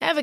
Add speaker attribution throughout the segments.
Speaker 1: Ever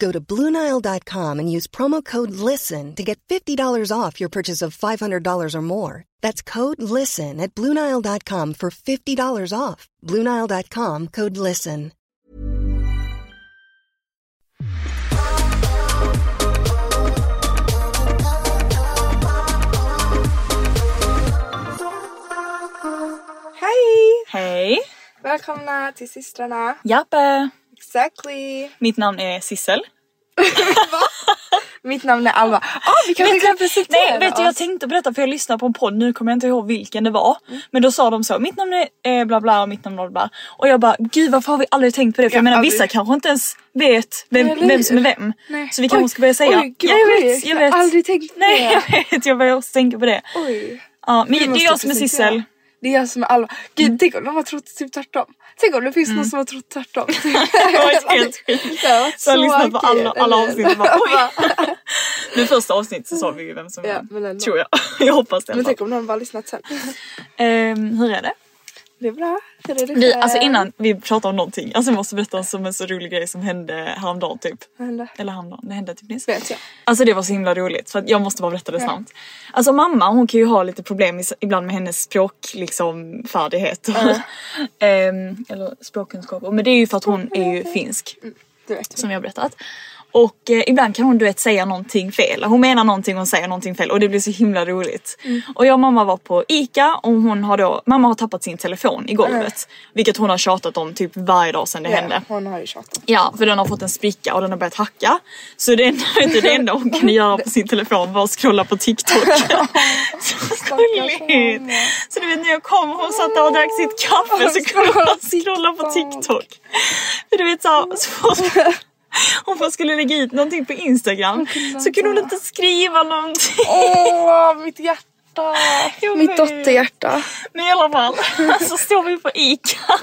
Speaker 2: Go to BlueNile.com and use promo code LISTEN to get $50 off your purchase of $500 or more. That's code LISTEN at BlueNile.com for $50 off. BlueNile.com code LISTEN.
Speaker 3: Hej!
Speaker 4: Hej!
Speaker 3: Välkomna till systrarna.
Speaker 4: Jappe!
Speaker 3: Exactly.
Speaker 4: Mitt namn är Sissel.
Speaker 3: Mitt namn är Alva. Ah, vi kanske kan presentera
Speaker 4: Nej, vet du jag
Speaker 3: oss.
Speaker 4: tänkte berätta för jag lyssnade på en podd, nu kommer jag inte ihåg vilken det var.
Speaker 3: Mm.
Speaker 4: Men då sa de så, mitt namn är eh, bla bla och mitt namn är bla bla. Och jag bara, gud varför har vi aldrig tänkt på det? För
Speaker 3: Ja,
Speaker 4: jag menar
Speaker 3: aldrig.
Speaker 4: vissa kanske inte ens vet vem,
Speaker 3: Nej, eller
Speaker 4: vem som är
Speaker 3: hur?
Speaker 4: vem.
Speaker 3: Nej.
Speaker 4: Så vi kanske
Speaker 3: Oj,
Speaker 4: ska börja säga,
Speaker 3: oj, gud,
Speaker 4: jag
Speaker 3: vad
Speaker 4: vet,
Speaker 3: sjukt.
Speaker 4: jag
Speaker 3: Jag har
Speaker 4: vet.
Speaker 3: aldrig tänkt på
Speaker 4: Nej,
Speaker 3: det.
Speaker 4: jag vet, jag börjar också tänka på det.
Speaker 3: Oj.
Speaker 4: Ja, men
Speaker 3: Vi
Speaker 4: det är
Speaker 3: måste
Speaker 4: jag som är
Speaker 3: presentera.
Speaker 4: Sissel.
Speaker 3: Det är jag som är Alva. Gud
Speaker 4: Mm.
Speaker 3: tänk om de har trott typ tvärtom. Tänk om det finns någon som har trott tvärtom.
Speaker 4: Det har varit helt sjukt.
Speaker 3: Det har varit
Speaker 4: Så jag har lyssnat på
Speaker 3: kul,
Speaker 4: alla, alla
Speaker 3: eller?
Speaker 4: avsnitt och bara oj. Nu första avsnittet så sa vi ju vem som
Speaker 3: Ja,
Speaker 4: är
Speaker 3: men
Speaker 4: vem.
Speaker 3: ändå.
Speaker 4: Tror jag. Jag hoppas det i
Speaker 3: Men
Speaker 4: alla fall.
Speaker 3: tänk om någon bara har lyssnat sen.
Speaker 4: Ehm, Hur är det?
Speaker 3: Det är bra. Hur är det
Speaker 4: Vi,
Speaker 3: själv?
Speaker 4: alltså innan vi pratar om någonting, alltså jag måste berätta om en så rolig grej som hände häromdagen typ.
Speaker 3: Vad hände?
Speaker 4: Eller häromdagen, det hände typ nyss.
Speaker 3: Vet jag.
Speaker 4: Alltså det var så himla roligt för att jag måste bara berätta det snabbt. Alltså mamma hon kan ju ha lite problem is- ibland med hennes språk liksom färdighet. Ehm, eller språkkunskaper. Men det är ju för att hon är ju finsk
Speaker 3: Du vet.
Speaker 4: som jag har berättat. Och eh, ibland kan hon du vet säga någonting fel. Hon menar någonting och säger någonting fel och det blir så himla roligt.
Speaker 3: Mm.
Speaker 4: Och jag och mamma var på ICA och hon har då, mamma har tappat sin telefon i golvet. Vilket hon har tjatat om typ varje dag sedan det
Speaker 3: Äh. Ja,
Speaker 4: hände.
Speaker 3: Hon har ju tjatat.
Speaker 4: Ja, för den har fått en spricka och den har börjat hacka. Så det enda, vet du, det enda hon kunde göra på sin telefon var att scrolla på TikTok. så gulligt!
Speaker 3: mamma.
Speaker 4: Så du vet när jag kom och hon satt där och drack sitt kaffe så kunde hon bara scrolla på TikTok. För du vet så, här, så om hon skulle lägga ut någonting på Instagram så kunde hon inte skriva någonting.
Speaker 3: Åh, mitt hjärta!
Speaker 4: Jag
Speaker 3: mitt
Speaker 4: vet.
Speaker 3: dotterhjärta. Alltså,
Speaker 4: Men i alla fall, så står vi på ICA.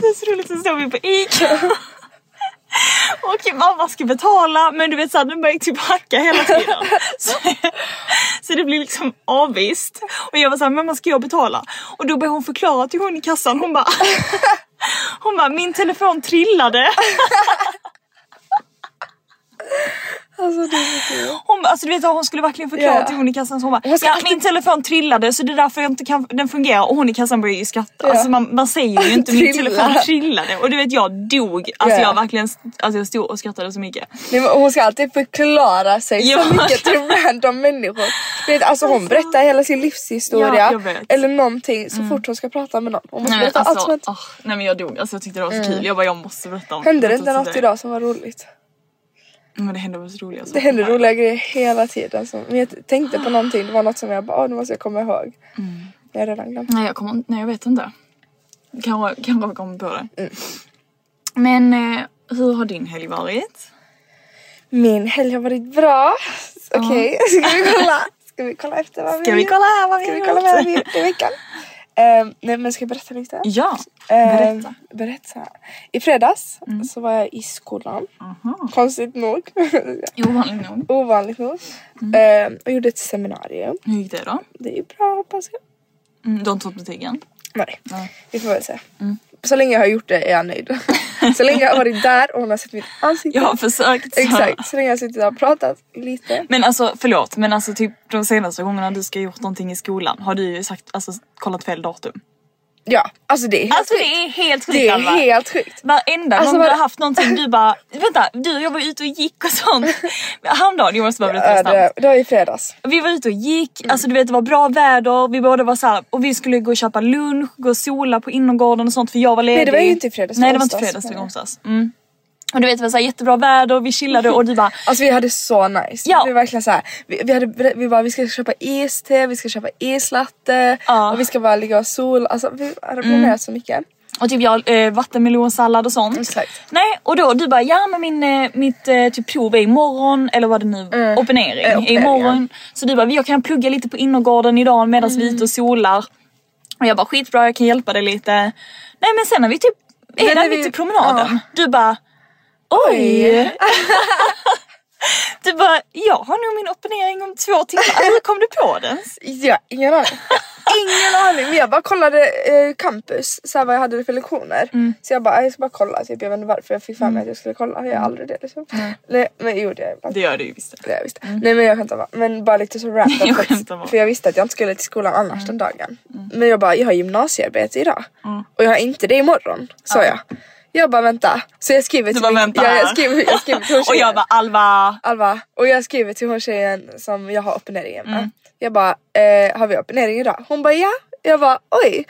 Speaker 4: Det är så roligt, så står vi på ICA. Och mamma ska betala men du vet såhär den börjar typ hacka hela tiden. Så, så det blir liksom avvist. Och jag var såhär, mamma ska jag betala? Och då började hon förklara till hon i kassan, hon bara Hon bara, min telefon trillade.
Speaker 3: Alltså det är så kul.
Speaker 4: Hon, bara, alltså du vet vad, hon skulle verkligen förklara
Speaker 3: Ja.
Speaker 4: till hon i kassan så hon bara,
Speaker 3: Hon ska
Speaker 4: ja,
Speaker 3: alltid-
Speaker 4: min telefon trillade så det är därför jag inte kan, den fungerar och hon i kassan börjar ju skratta.
Speaker 3: Ja.
Speaker 4: Alltså man, man säger ju inte min
Speaker 3: Trillade.
Speaker 4: telefon trillade och du vet jag dog. Alltså
Speaker 3: Ja.
Speaker 4: jag verkligen alltså, jag stod och skrattade så mycket.
Speaker 3: Nej, men hon ska alltid förklara sig
Speaker 4: Ja.
Speaker 3: så mycket till random människor. Du Vet, alltså hon berättar hela sin livshistoria
Speaker 4: Ja, jag vet. Mm.
Speaker 3: eller någonting så fort hon ska prata med någon. Hon måste
Speaker 4: Nej men,
Speaker 3: berätta allt som
Speaker 4: alltså,
Speaker 3: hänt.
Speaker 4: åh, nej men jag dog, alltså jag tyckte det var så kul. Jag bara jag måste berätta om
Speaker 3: Hände det
Speaker 4: berätta
Speaker 3: inte
Speaker 4: sånt
Speaker 3: något
Speaker 4: där.
Speaker 3: idag som var roligt?
Speaker 4: Men det alltså. hände bara så roliga saker.
Speaker 3: Det händer roliga grejer hela tiden. Så, men jag tänkte på någonting, det var något som jag bara, "Ah, nu måste jag komma ihåg.
Speaker 4: Mm.
Speaker 3: Jag har redan glömt.
Speaker 4: Nej jag kommer inte- nej jag vet inte. Kanske kan jag kommer på det.
Speaker 3: Mm.
Speaker 4: Men eh, hur har din helg varit?
Speaker 3: Min helg har varit bra. Okej, ska vi kolla? Ska vi kolla efter vad
Speaker 4: Ska vi
Speaker 3: gjort?
Speaker 4: kolla här vad vi
Speaker 3: Ska vi
Speaker 4: har
Speaker 3: kolla
Speaker 4: gjort?
Speaker 3: vad vi har gjort i veckan? Ehm, nej men ska jag berätta lite?
Speaker 4: Ja,
Speaker 3: Ehm,
Speaker 4: berätta. Mm.
Speaker 3: berätta. I fredags så var jag i skolan. Konstigt nog.
Speaker 4: Ovanligt nog.
Speaker 3: Ovanligt nog.
Speaker 4: Mm.
Speaker 3: Ehm, och gjorde ett seminarium.
Speaker 4: Hur gick det då?
Speaker 3: Det är ju bra hoppas jag.
Speaker 4: Mm, de tog betygen?
Speaker 3: Nej, vi får väl se.
Speaker 4: Mm.
Speaker 3: Så länge jag har gjort det är jag nöjd. så länge jag har varit där och hon har sett mitt ansikte.
Speaker 4: Jag har försökt. så.
Speaker 3: Exakt, så länge jag har suttit där och pratat lite.
Speaker 4: Men alltså förlåt men alltså typ de senaste gångerna du ska ha gjort någonting i skolan har du ju sagt alltså kollat fel datum.
Speaker 3: Ja, alltså det är helt
Speaker 4: Alltså
Speaker 3: sjukt.
Speaker 4: det är helt
Speaker 3: Det
Speaker 4: sjukt
Speaker 3: är
Speaker 4: Alva.
Speaker 3: helt sjukt.
Speaker 4: Varenda
Speaker 3: Alltså,
Speaker 4: gång
Speaker 3: var-
Speaker 4: du har haft någonting du bara vänta du och jag var ute och gick och sånt. Häromdagen Jonas bara berätta
Speaker 3: Ja,
Speaker 4: det snabbt.
Speaker 3: det, det var i fredags.
Speaker 4: Vi var ute och gick,
Speaker 3: Mm.
Speaker 4: alltså du vet det var bra väder, vi båda var såhär och vi skulle gå och köpa lunch, gå och sola på innergården och sånt för jag var ledig.
Speaker 3: det var ju inte i fredags, det var
Speaker 4: Nej det var inte
Speaker 3: onsdags.
Speaker 4: fredags, det var onsdags. Mm. Och du vet det var såhär jättebra väder, vi chillade och du bara
Speaker 3: Alltså vi hade så nice.
Speaker 4: Ja.
Speaker 3: Vi var verkligen så här, vi, vi, hade, vi bara vi ska köpa iste, vi ska köpa islatte
Speaker 4: Ja. Mm.
Speaker 3: och vi ska bara ligga och sol. Alltså vi hade planerat så mycket.
Speaker 4: Och typ jag eh, vattenmelonsallad och sånt.
Speaker 3: Exakt.
Speaker 4: Nej och då du bara ja men min, eh, mitt eh, typ prov är imorgon eller vad det nu
Speaker 3: Mm.
Speaker 4: opinering,
Speaker 3: Eh,
Speaker 4: är
Speaker 3: opinering,
Speaker 4: imorgon. Så du bara jag kan plugga lite på innergården idag medan vi är
Speaker 3: Mm.
Speaker 4: ute och solar. Och jag bara skitbra jag kan hjälpa dig lite. Nej men sen när vi typ är
Speaker 3: Men
Speaker 4: där
Speaker 3: när vi-
Speaker 4: mitt i promenaden. Du bara oj.
Speaker 3: Oj.
Speaker 4: du bara jag har nog min opinering om två timmar. Hur kom du på den?
Speaker 3: Ja, ingen aning. ingen aning. Men jag bara kollade eh, campus, så här vad jag hade för lektioner.
Speaker 4: Mm.
Speaker 3: Så jag bara jag ska bara kolla, typ. jag vet inte varför jag fick för mig att jag skulle kolla. Jag har aldrig det liksom. Nej, men det gjorde jag ibland.
Speaker 4: Det gör du ju visst.
Speaker 3: Det har jag visst. Nej men jag skämtar bara. Men bara lite så random.
Speaker 4: Mm. Jag
Speaker 3: för att-
Speaker 4: skämtar bara. Mm.
Speaker 3: För jag visste att jag inte skulle till skolan annars den dagen. Men jag bara, jag har gymnasiearbete idag. Och jag har inte det imorgon, sa jag. Jag bara vänta. Så jag skriver
Speaker 4: Du bara
Speaker 3: min-
Speaker 4: vänta
Speaker 3: ja, jag
Speaker 4: här."
Speaker 3: skriver, jag skriver till hon
Speaker 4: Och jag
Speaker 3: tjejen.
Speaker 4: bara Alva.
Speaker 3: Alva, och jag skriver till hon tjejen som jag har opineringen
Speaker 4: Mm.
Speaker 3: med. Jag bara, eh, har vi opinering idag? Hon bara ja. Jag bara oj.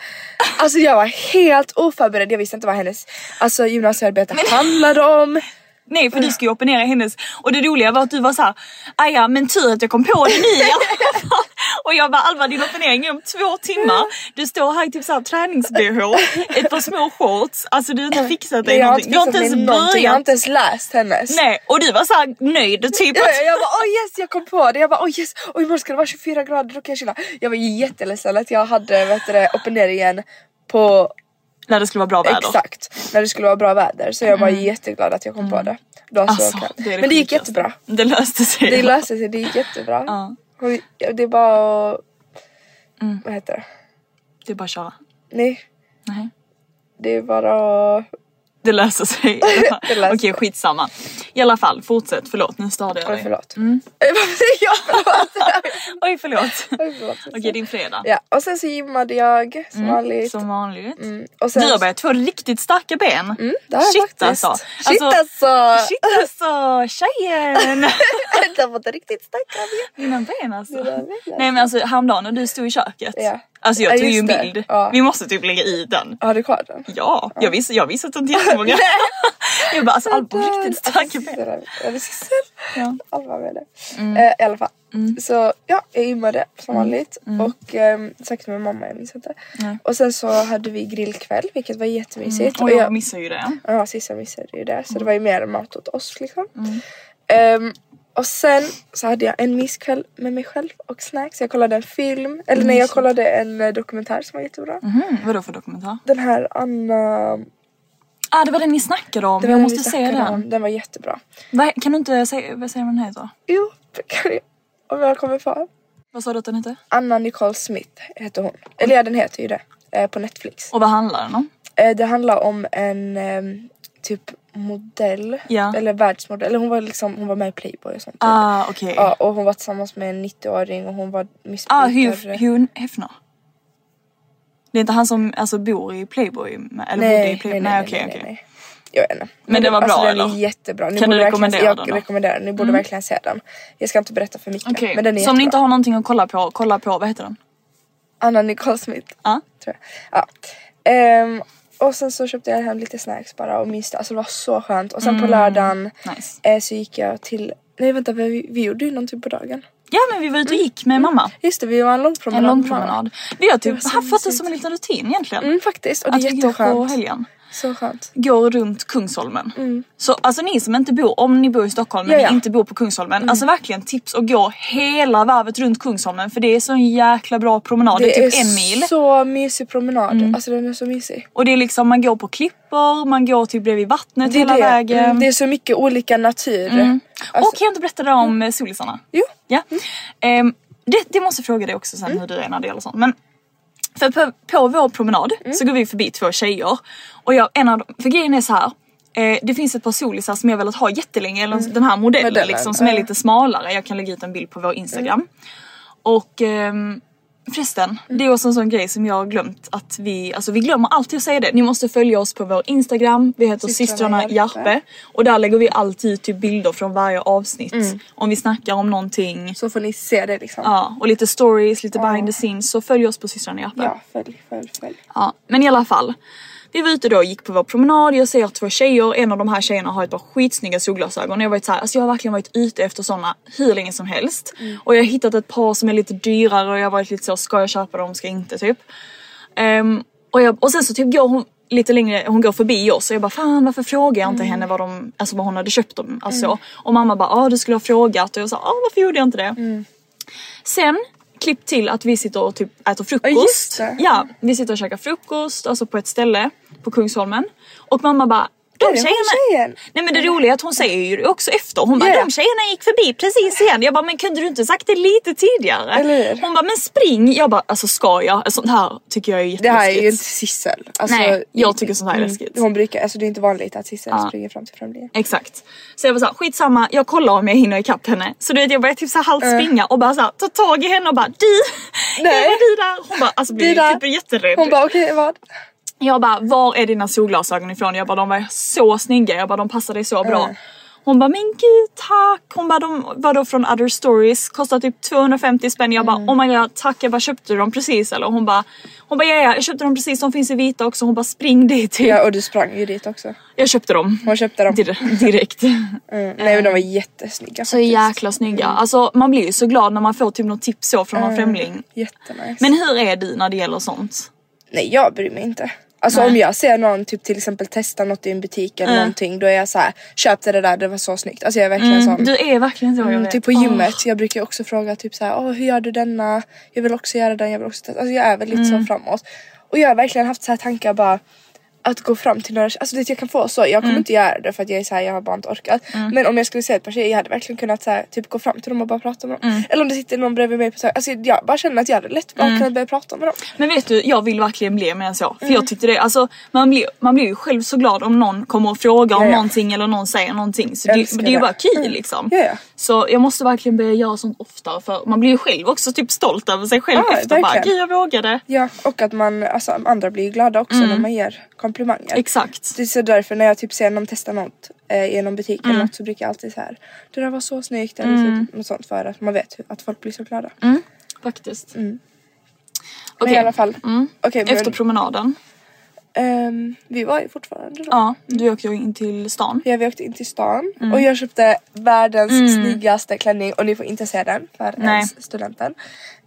Speaker 3: Alltså jag var helt oförberedd. Jag visste inte vad hennes alltså, gymnasiearbete handlade om.
Speaker 4: Nej för du ska ju opinera hennes och det roliga var att du var såhär Aja men tur att jag kom på det nu i alla fall." Och jag bara Alva din opinering är om två timmar. Du står här i typ såhär tränings-bh, ett par små shorts. Alltså du har inte fixat dig
Speaker 3: Nej, jag har inte
Speaker 4: någonting. Du har
Speaker 3: fixat
Speaker 4: inte
Speaker 3: mig
Speaker 4: ens
Speaker 3: någonting. Jag har
Speaker 4: börjat.
Speaker 3: inte ens läst hennes.
Speaker 4: Nej och du var såhär nöjd och typ
Speaker 3: Ja,
Speaker 4: att
Speaker 3: ja, jag bara oh yes jag kom på det, jag bara oh yes och imorgon ska det vara 24 grader då kan jag chilla. Jag var jätteledsen att jag hade vet du, det, opineringen på
Speaker 4: när det skulle vara bra väder. Mm.
Speaker 3: exakt när det skulle vara bra väder så jag var jätteglad att jag kom på det. Då så
Speaker 4: Alltså,
Speaker 3: kan-
Speaker 4: det är det
Speaker 3: Men det gick
Speaker 4: sjukaste.
Speaker 3: jättebra.
Speaker 4: Det löste sig.
Speaker 3: Det löste sig, det gick jättebra.
Speaker 4: Ja. Mm.
Speaker 3: Och det- Det är bara att... Vad heter det?
Speaker 4: Det är bara att köra.
Speaker 3: Nej,
Speaker 4: Nej.
Speaker 3: det är bara att...
Speaker 4: Det löser sig.
Speaker 3: Det löser
Speaker 4: Okej
Speaker 3: sig.
Speaker 4: skitsamma. I alla fall fortsätt, förlåt nu störde jag
Speaker 3: Oj,
Speaker 4: dig.
Speaker 3: förlåt. Eh, Varför säger jag förlåt?
Speaker 4: Oj förlåt.
Speaker 3: Oj, förlåt.
Speaker 4: Okej din fredag.
Speaker 3: Ja, och sen så gymmade jag som vanligt.
Speaker 4: Som vanligt.
Speaker 3: Mm, Och sen
Speaker 4: Du har börjat få riktigt starka ben. Mm,
Speaker 3: det har jag
Speaker 4: Shit
Speaker 3: faktiskt.
Speaker 4: alltså.
Speaker 3: Shit alltså!
Speaker 4: Shit alltså tjejen!
Speaker 3: Det har fått riktigt starka ben.
Speaker 4: Dina ben alltså.
Speaker 3: Dina ben, alltså.
Speaker 4: Nej men alltså häromdagen när du stod i köket.
Speaker 3: Ja.
Speaker 4: Alltså jag
Speaker 3: Ja,
Speaker 4: tog ju en
Speaker 3: just det.
Speaker 4: bild.
Speaker 3: Ja.
Speaker 4: Vi måste typ lägga i den.
Speaker 3: Har du kvar den?
Speaker 4: Ja, jag visste, jag visste att de inte så många. jag bara alltså Alba har riktigt starka ben.
Speaker 3: ben.
Speaker 4: Ja. Mm.
Speaker 3: Alva med det. Eh, I alla fall. Så ja, jag gymmade som vanligt
Speaker 4: Mm.
Speaker 3: och eh, säkert med mamma, jag minns inte.
Speaker 4: Nej.
Speaker 3: Och sen så hade vi grillkväll vilket var jättemysigt.
Speaker 4: Och
Speaker 3: Och jag,
Speaker 4: Mm. jag Mm. missar ju det.
Speaker 3: ja, sista missade ju det så det var ju mer mat åt oss liksom.
Speaker 4: Mm.
Speaker 3: Ehm, och sen så hade jag en myskväll med mig själv och snacks. Jag kollade en film, eller nej jag kollade en eh, dokumentär som var jättebra.
Speaker 4: Mm, vadå för dokumentär?
Speaker 3: Den här Anna...
Speaker 4: Ah det var den ni snackade om,
Speaker 3: Det
Speaker 4: jag
Speaker 3: var
Speaker 4: måste
Speaker 3: vi
Speaker 4: se
Speaker 3: snackade
Speaker 4: den.
Speaker 3: om. Den var jättebra.
Speaker 4: Va, kan du inte säga, vad säger man den heter?
Speaker 3: Jo, det kan jag. Om jag kommer på.
Speaker 4: Vad sa du att den hette?
Speaker 3: Anna Nicole Smith heter hon. Eller ja, den heter ju det. eh, På Netflix.
Speaker 4: Och vad handlar den om?
Speaker 3: Eh, Det handlar om en ehm, typ modell.
Speaker 4: Ja.
Speaker 3: Eller världsmodell. Eller hon var liksom, hon var med i Playboy och sånt. typ.
Speaker 4: Ah okej.
Speaker 3: Ja, och hon var tillsammans med en 90-åring och hon var missbrukare.
Speaker 4: Ah, Hugh, Hugh Hefner. Det är inte han som alltså, bor i Playboy? med- Eller bodde i
Speaker 3: nej,
Speaker 4: Playboy?
Speaker 3: nej, nej, nej,
Speaker 4: okej,
Speaker 3: nej,
Speaker 4: okej.
Speaker 3: nej. Jag vet inte.
Speaker 4: Men den var
Speaker 3: alltså,
Speaker 4: bra,
Speaker 3: den
Speaker 4: eller?
Speaker 3: är jättebra. Ni
Speaker 4: Kan
Speaker 3: borde
Speaker 4: du
Speaker 3: verkligen-
Speaker 4: rekommendera
Speaker 3: jag
Speaker 4: den då? Mm.
Speaker 3: rekommenderar den. Ni borde verkligen se den. Jag ska inte berätta för mycket.
Speaker 4: Okej,
Speaker 3: Men den är
Speaker 4: Så om ni inte
Speaker 3: jättebra.
Speaker 4: har någonting att kolla på, kolla på, vad heter den?
Speaker 3: Anna Nicole Smith.
Speaker 4: Ja.
Speaker 3: tror jag. Ja. Ehm, och sen så köpte jag hem lite snacks bara och myste. Alltså det var så skönt. Och sen på lördagen
Speaker 4: Mm, Nice.
Speaker 3: eh, så gick jag till, nej vänta vi, vi gjorde ju någonting på dagen.
Speaker 4: Ja men vi var ute och
Speaker 3: Mm.
Speaker 4: gick med mamma.
Speaker 3: Just det, vi var en lång
Speaker 4: En
Speaker 3: promenad.
Speaker 4: lång
Speaker 3: med mamma.
Speaker 4: promenad. Vi har
Speaker 3: var
Speaker 4: typ
Speaker 3: så
Speaker 4: haft det
Speaker 3: mysigt.
Speaker 4: som en liten rutin egentligen.
Speaker 3: Mm faktiskt och det
Speaker 4: att
Speaker 3: är
Speaker 4: Alltså, vi går på
Speaker 3: jätteskönt.
Speaker 4: helgen.
Speaker 3: Så skönt.
Speaker 4: går runt Kungsholmen. Så alltså ni som inte bor, om ni bor i Stockholm men
Speaker 3: Ja, Mm. ja.
Speaker 4: ni inte bor på Kungsholmen, alltså verkligen tips att gå hela varvet runt Kungsholmen för det är så en jäkla bra promenad, det, är typ en mil. Mm.
Speaker 3: så mysig promenad. Alltså den är så mysig.
Speaker 4: Och det är liksom, man går på klippor, man går typ bredvid vattnet
Speaker 3: Det är,
Speaker 4: hela
Speaker 3: det.
Speaker 4: vägen.
Speaker 3: Mm, det är så mycket olika natur.
Speaker 4: Mm.
Speaker 3: Alltså,
Speaker 4: Och kan jag inte berätta det om mm. solisarna?
Speaker 3: Jo.
Speaker 4: Ja. Ehm, det, det måste jag fråga dig också sen
Speaker 3: Mm.
Speaker 4: hur du är när det gäller sånt. Men för på, på vår promenad
Speaker 3: Mm.
Speaker 4: så går vi förbi två tjejer och jag, en av dem, för grejen är så här. Eh, det finns ett par solisar som jag velat ha jättelänge, eller den här modellen,
Speaker 3: Mm. Modellen,
Speaker 4: liksom som är
Speaker 3: ja. Mm.
Speaker 4: lite smalare. Jag kan lägga ut en bild på vår instagram. Och ehm, förresten, det är också en sån grej som jag har glömt att vi, alltså vi glömmer alltid att säga det. Ni måste följa oss på vår instagram, vi heter
Speaker 3: Systrarna
Speaker 4: systrarna,
Speaker 3: Järpe.
Speaker 4: Järpe. Och där lägger vi alltid ut typ bilder från varje avsnitt. Om vi snackar om någonting.
Speaker 3: Så får ni se det liksom.
Speaker 4: Ja, och lite stories, lite behind the scenes. Så följ oss på systrarna Järpe.
Speaker 3: Ja, följ, följ, följ.
Speaker 4: Ja, men i alla fall. Vi var ute då och gick på vår promenad, jag ser två tjejer, en av de här tjejerna har ett par skitsnygga solglasögon. Jag har, varit så här, alltså jag har verkligen varit ute efter sådana hur länge som helst. Och jag har hittat ett par som är lite dyrare och jag har varit lite så, ska jag köpa dem, ska jag inte typ. Ehm, och, jag, och sen så typ går hon lite längre, hon går förbi oss och jag bara fan varför frågar jag inte henne vad, de, alltså vad hon hade köpt dem? Alltså. Och mamma bara ah, du skulle ha frågat och jag sa ah, varför gjorde jag inte det? Sen klipp till att vi sitter och typ äter frukost.
Speaker 3: Ja, just det.
Speaker 4: ja, vi sitter och käkar frukost alltså på ett ställe på Kungsholmen och mamma bara de
Speaker 3: Där är hon,
Speaker 4: tjejerna.
Speaker 3: tjejen.
Speaker 4: Nej men det roliga är att hon säger ju det också efter. Hon bara
Speaker 3: Ja, ja.
Speaker 4: de tjejerna gick förbi precis igen. Jag bara men kunde du inte sagt det lite tidigare?
Speaker 3: Eller hur?
Speaker 4: Hon bara men spring. Jag bara alltså ska jag? Sånt här tycker jag är
Speaker 3: Det
Speaker 4: jätteläskigt.
Speaker 3: här är ju inte Sissel. Alltså,
Speaker 4: Nej, jag tycker sånt här är läskigt.
Speaker 3: Hon brukar, alltså det är inte vanligt att Sissel
Speaker 4: Ja.
Speaker 3: springer fram till framlinjen.
Speaker 4: Exakt. Så jag var såhär, skitsamma jag kollar om jag hinner ikapp henne. Så du vet jag började typ såhär halvt springa och bara såhär ta tag i henne och bara du!
Speaker 3: Nej.
Speaker 4: Jag bara du där! Hon bara alltså blev
Speaker 3: Dida.
Speaker 4: typ jätterädd.
Speaker 3: Hon bara okej vad?
Speaker 4: Jag bara, var är dina solglasögon ifrån? Jag bara, de var så snygga. Jag bara, de passar dig så bra. Hon bara, men gud tack. Hon bara, de var då från other stories. Kostar typ 250 spänn. Jag
Speaker 3: Mm.
Speaker 4: bara, oh my god tack. Jag bara, köpte du dem precis eller? Hon bara, hon bara, ja ja, jag köpte dem precis. De finns i vita också. Hon bara, spring dit. Typ.
Speaker 3: Ja och du sprang ju dit också.
Speaker 4: Jag köpte dem.
Speaker 3: Hon köpte dem.
Speaker 4: Dir- direkt.
Speaker 3: Mm. Nej men de var jättesnygga
Speaker 4: Så jäkla snygga.
Speaker 3: Mm.
Speaker 4: Alltså man blir ju så glad när man får typ något tips så från någon främling.
Speaker 3: Jättenice.
Speaker 4: Men hur är du när det gäller sånt?
Speaker 3: Nej jag bryr mig inte. Alltså om jag ser någon typ till exempel testa något i en butik eller någonting då är jag så här: köpte det där det var så snyggt. Alltså jag är verkligen sån.
Speaker 4: Mm, Du är verkligen så jag
Speaker 3: Mm,
Speaker 4: vet. Ah.
Speaker 3: typ på
Speaker 4: Åh.
Speaker 3: gymmet, jag brukar ju också fråga typ såhär, Åh, hur gör du denna? Jag vill också göra den, jag vill också testa. Alltså jag är väl lite
Speaker 4: Mm.
Speaker 3: så framåt. Och jag har verkligen haft så här tankar bara att gå fram till några, alltså det jag kan få så, jag
Speaker 4: Mm.
Speaker 3: kommer inte göra det för att jag är såhär, jag har bara inte orkat. Men om jag skulle se ett par tjejer, jag hade verkligen kunnat så här, typ gå fram till dem och bara prata med dem.
Speaker 4: Mm.
Speaker 3: Eller om det sitter någon bredvid mig på så alltså jag bara känner att jag hade lätt bara kunnat börja prata med dem.
Speaker 4: Men vet du, jag vill verkligen bli mer än så. För
Speaker 3: Mm.
Speaker 4: jag tyckte det, alltså man blir, man blir ju själv så glad om någon kommer och frågar om
Speaker 3: Ja, ja.
Speaker 4: någonting eller någon säger någonting. Så
Speaker 3: Jag
Speaker 4: det,
Speaker 3: älskar
Speaker 4: det är ju
Speaker 3: det.
Speaker 4: bara kul
Speaker 3: Mm.
Speaker 4: liksom.
Speaker 3: Ja, ja.
Speaker 4: Så jag måste verkligen börja göra sånt oftare för man blir ju själv också typ stolt över sig själv
Speaker 3: Ja,
Speaker 4: efter. Bara,
Speaker 3: verkligen.
Speaker 4: Gud jag vågade.
Speaker 3: Ja och att man, alltså andra blir ju glada också
Speaker 4: Mm.
Speaker 3: när man ger komplimanger.
Speaker 4: Exakt.
Speaker 3: Det är så därför när jag typ ser någon testa något eh, i någon butik
Speaker 4: Mm.
Speaker 3: eller något så brukar jag alltid så här. Det där var så snyggt eller så, något sånt för att man vet hur, att folk blir så glada.
Speaker 4: Faktiskt.
Speaker 3: Men
Speaker 4: Mm. Okej.
Speaker 3: Mm. i alla fall.
Speaker 4: Mm.
Speaker 3: Okej
Speaker 4: Efter promenaden.
Speaker 3: men ehm, vi var ju fortfarande då.
Speaker 4: Ja, Mm. du åkte ju in till stan.
Speaker 3: Ja, vi åkte in till stan och jag köpte världens snyggaste klänning och ni får inte se den för
Speaker 4: Mm. Nej.
Speaker 3: ens studenten.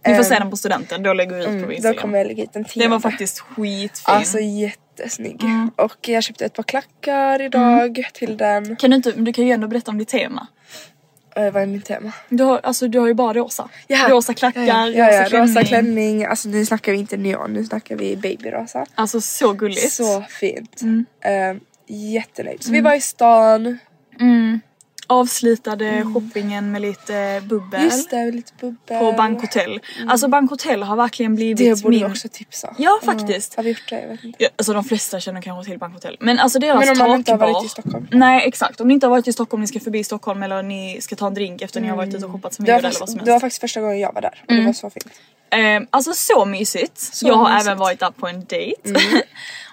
Speaker 4: Vi får
Speaker 3: Ehm,
Speaker 4: se den på studenten, då lägger vi ut på
Speaker 3: mm,
Speaker 4: Instagram.
Speaker 3: Då kommer jag lägga ut en till.
Speaker 4: Den var faktiskt Mm. skitfin.
Speaker 3: Alltså jättesnygg. Och jag köpte ett par klackar idag
Speaker 4: Mm.
Speaker 3: till den.
Speaker 4: kan du, inte, men du kan ju ändå berätta om ditt tema.
Speaker 3: Eh, vad är mitt tema?
Speaker 4: Du har, alltså, du har ju bara rosa.
Speaker 3: Ja.
Speaker 4: Rosa klackar,
Speaker 3: ja, ja, ja,
Speaker 4: rosa klänning.
Speaker 3: rosa klänning. Alltså nu snackar vi inte neon, nu snackar vi babyrosa.
Speaker 4: Alltså så gulligt.
Speaker 3: Så fint.
Speaker 4: Mm.
Speaker 3: Um, jättenöjd. Så vi var i stan, Mm.
Speaker 4: Avslutade shoppingen med lite bubbel
Speaker 3: just det, lite bubbel.
Speaker 4: på Bankhotell.
Speaker 3: Mm.
Speaker 4: Alltså Bankhotell har verkligen blivit
Speaker 3: Det borde
Speaker 4: min...
Speaker 3: vi också tipsa.
Speaker 4: Ja, faktiskt.
Speaker 3: Har vi gjort det? Jag vet inte.
Speaker 4: Ja, alltså de flesta känner kanske till Bankhotell. Men alltså deras
Speaker 3: Men om man inte har
Speaker 4: takbar-
Speaker 3: varit i Stockholm.
Speaker 4: Nej exakt, om ni inte har varit i Stockholm, ni ska förbi Stockholm eller ni ska ta en drink efter ni har
Speaker 3: Mm.
Speaker 4: varit ute och shoppat som vi
Speaker 3: Det var,
Speaker 4: gjorde eller vad som
Speaker 3: faktiskt,
Speaker 4: helst. Mm.
Speaker 3: det var faktiskt första gången jag var där och det var så fint.
Speaker 4: Ehm, alltså så mysigt. jag har
Speaker 3: mysigt. Mm.
Speaker 4: även varit där på en dejt.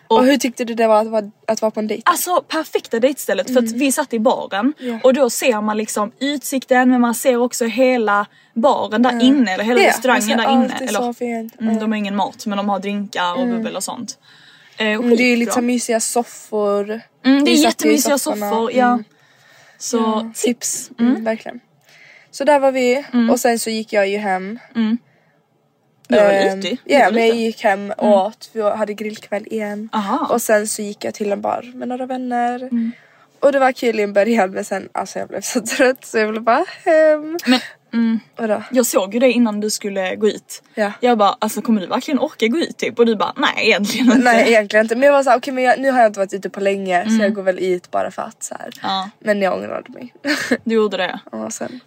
Speaker 3: Och, hur tyckte du det var att vara, att vara på en dejt?
Speaker 4: Alltså perfekta dejtstället för
Speaker 3: Mm.
Speaker 4: att vi satt i baren och då ser man liksom utsikten men man ser också hela baren där inne eller hela
Speaker 3: Ja,
Speaker 4: restaurangen
Speaker 3: alltså,
Speaker 4: där
Speaker 3: allt
Speaker 4: inne.
Speaker 3: är
Speaker 4: Eller,
Speaker 3: så fint.
Speaker 4: Mm, de har ingen mat men de har drinkar och bubbel och sånt. Eh,
Speaker 3: Mm, det är ju lite
Speaker 4: skitbra.
Speaker 3: så mysiga soffor.
Speaker 4: mm, det
Speaker 3: Vi
Speaker 4: är
Speaker 3: satt ju i
Speaker 4: jättemysiga
Speaker 3: sofforna.
Speaker 4: soffor. Ja. Så tips. Mm.
Speaker 3: Mm, verkligen. Så där var vi och sen så gick jag ju hem.
Speaker 4: Du var väl
Speaker 3: Ehm,
Speaker 4: ute?
Speaker 3: Ja,
Speaker 4: Du var
Speaker 3: men jag
Speaker 4: ute.
Speaker 3: gick hem och åt. Vi hade grillkväll igen.
Speaker 4: Mm. Aha. Mm.
Speaker 3: Och sen så gick jag till en bar med några vänner. Och det var kul i en början men sen alltså jag blev så trött så jag ville bara hem.
Speaker 4: Men mm,
Speaker 3: Vadå?
Speaker 4: jag såg ju dig innan du skulle gå ut.
Speaker 3: Ja.
Speaker 4: Jag bara alltså kommer du verkligen orka gå ut typ? Och du bara nej egentligen inte.
Speaker 3: Nej egentligen inte men jag var såhär okej men jag, nu har jag inte varit ute på länge så
Speaker 4: Mm.
Speaker 3: jag går väl ut bara för att så här.
Speaker 4: Ja.
Speaker 3: Men jag ångrade mig.
Speaker 4: Du gjorde det.
Speaker 3: och sen.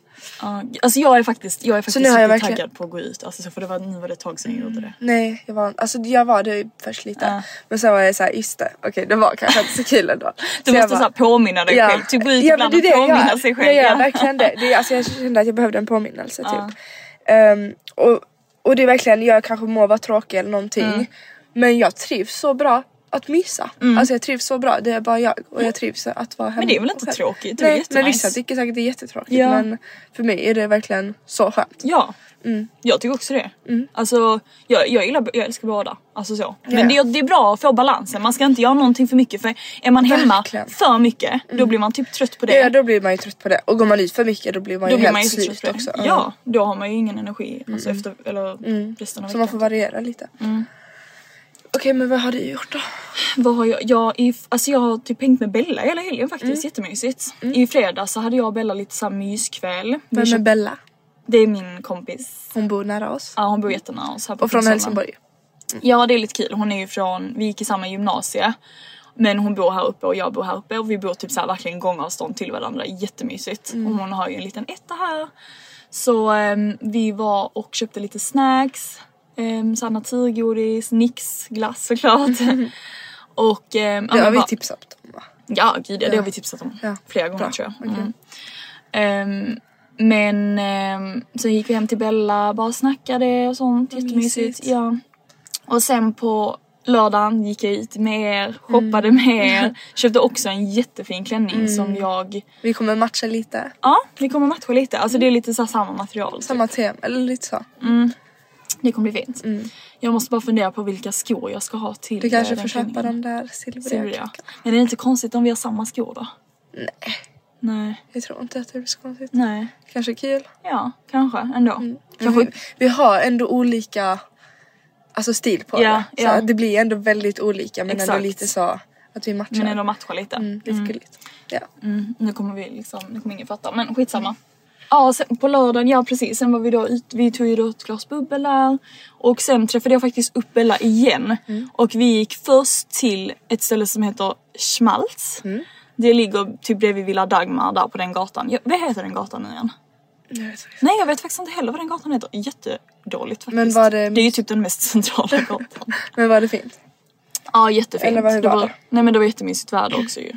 Speaker 4: Ja, alltså jag är faktiskt, jag är faktiskt
Speaker 3: nu har jag
Speaker 4: supertaggad
Speaker 3: verkligen- Mm.
Speaker 4: på att gå ut. Alltså, så för det var, nu var det ett tag sedan jag gjorde det.
Speaker 3: Nej jag var, alltså jag var det först lite
Speaker 4: Ja.
Speaker 3: men sen var jag såhär just det okej det var kanske inte så kul ändå.
Speaker 4: Du
Speaker 3: så jag
Speaker 4: måste
Speaker 3: bara-
Speaker 4: så här påminna dig själv. Typ gå
Speaker 3: Ja,
Speaker 4: ut
Speaker 3: men
Speaker 4: ibland
Speaker 3: det är det
Speaker 4: och
Speaker 3: jag
Speaker 4: påminna
Speaker 3: gör.
Speaker 4: sig själv.
Speaker 3: Jag gör
Speaker 4: Ja.
Speaker 3: verkligen det. det är, alltså, jag kände att jag behövde en påminnelse
Speaker 4: Ja.
Speaker 3: typ. Ehm, och, och det är verkligen, jag kanske må vara tråkig eller någonting.
Speaker 4: Mm.
Speaker 3: Men jag trivs så bra att mysa. Alltså jag trivs så bra, det är bara jag. Och jag trivs att vara hemma.
Speaker 4: det är väl inte
Speaker 3: själv.
Speaker 4: tråkigt? Det är
Speaker 3: Nej, men
Speaker 4: jättenice.
Speaker 3: vissa tycker säkert det är jättetråkigt.
Speaker 4: Ja.
Speaker 3: Men för mig är det verkligen så skönt.
Speaker 4: Ja,
Speaker 3: Mm.
Speaker 4: jag tycker också det. Alltså, jag, jag, gillar, jag älskar att bada. Alltså så.
Speaker 3: Ja.
Speaker 4: Men det, är- det är bra att få balansen. Man ska inte göra någonting för mycket för är man hemma
Speaker 3: Verkligen. Mm.
Speaker 4: för mycket då blir man typ trött på det.
Speaker 3: Ja, då blir man ju trött på det. Och går man ut för mycket då blir man
Speaker 4: då
Speaker 3: ju
Speaker 4: blir
Speaker 3: helt
Speaker 4: man ju så trött
Speaker 3: slut
Speaker 4: på det.
Speaker 3: också. Mm.
Speaker 4: Ja, då har man ju ingen energi alltså, efter, eller resten av
Speaker 3: Så man får
Speaker 4: veckan.
Speaker 3: variera lite.
Speaker 4: Mm.
Speaker 3: Okej men vad har du gjort då?
Speaker 4: Vad har jag, jag, i, alltså jag har typ hängt med Bella hela helgen faktiskt,
Speaker 3: Mm.
Speaker 4: jättemysigt. I fredag så hade jag och Bella lite såhär myskväll. Vi
Speaker 3: Vem är
Speaker 4: köpte-
Speaker 3: Bella?
Speaker 4: Det är min kompis.
Speaker 3: Hon bor nära oss.
Speaker 4: Ja, hon bor jättenära oss här på
Speaker 3: Och från
Speaker 4: Kungsholmen.
Speaker 3: Helsingborg.
Speaker 4: Ja det är lite kul, hon är ju från, vi gick i samma gymnasie. Men hon bor här uppe och jag bor här uppe och vi bor typ så här verkligen gångavstånd till varandra, jättemysigt.
Speaker 3: Mm.
Speaker 4: Och hon har ju en liten etta här. Så ehm, vi var och köpte lite snacks, um, så här naturgodis, nix, glass såklart. och ehm, ja,
Speaker 3: Mm. Det
Speaker 4: men
Speaker 3: har vi
Speaker 4: bara-
Speaker 3: tipsat om va?
Speaker 4: Ja, gud, ja. det har vi tipsat om
Speaker 3: Ja.
Speaker 4: flera gånger
Speaker 3: Bra.
Speaker 4: tror jag. Mm. Ehm, men ehm, sen gick vi hem till Bella, bara snackade och sånt, jättemysigt.
Speaker 3: mysigt.
Speaker 4: Ja. Och sen på lördagen gick jag ut med er, shoppade
Speaker 3: Mm.
Speaker 4: med er, köpte också en jättefin klänning som jag,
Speaker 3: Vi kommer matcha lite.
Speaker 4: ja vi kommer matcha lite, alltså det är lite så här samma material.
Speaker 3: Mm. Samma tema, eller lite så.
Speaker 4: Det kommer bli fint. Jag måste bara fundera på vilka skor jag ska ha till
Speaker 3: Mm. Du kanske
Speaker 4: eh, den
Speaker 3: får köpa
Speaker 4: klänningen.
Speaker 3: de där
Speaker 4: Ser du
Speaker 3: silvriga
Speaker 4: det?
Speaker 3: klockan.
Speaker 4: Men det är inte konstigt om vi har samma skor då? Nej. Nej.
Speaker 3: Jag tror inte att det blir så konstigt.
Speaker 4: Nej.
Speaker 3: Kanske kul.
Speaker 4: Ja, kanske ändå.
Speaker 3: Men
Speaker 4: Kanske,
Speaker 3: vi, vi har ändå olika alltså, stil på
Speaker 4: Ja,
Speaker 3: det. Så
Speaker 4: ja.
Speaker 3: att Det blir ändå väldigt olika men
Speaker 4: Exakt.
Speaker 3: ändå lite så att vi matchar.
Speaker 4: men ändå matcha lite.
Speaker 3: mm, lite gulligt. Ja.
Speaker 4: Mm, nu kommer vi liksom, nu kommer ingen fatta men skitsamma. Ja, sen, på lördagen, ja precis, sen var vi då ut, vi tog ju då ett glas bubbel där. Och sen träffade jag faktiskt upp Bella igen.
Speaker 3: Mm.
Speaker 4: Och vi gick först till ett ställe som heter Schmaltz.
Speaker 3: Mm.
Speaker 4: Det ligger typ bredvid Villa Dagmar där på den gatan. Ja, vad heter den gatan nu igen?
Speaker 3: Jag vet inte.
Speaker 4: Nej jag vet faktiskt inte heller vad den gatan heter. Jättedåligt faktiskt.
Speaker 3: Men var det-
Speaker 4: det är ju typ den mest centrala gatan.
Speaker 3: Men var det fint?
Speaker 4: Ja jättefint.
Speaker 3: Eller vad- hur
Speaker 4: det
Speaker 3: var
Speaker 4: var,
Speaker 3: det?
Speaker 4: nej men det var jättemysigt väder också ju.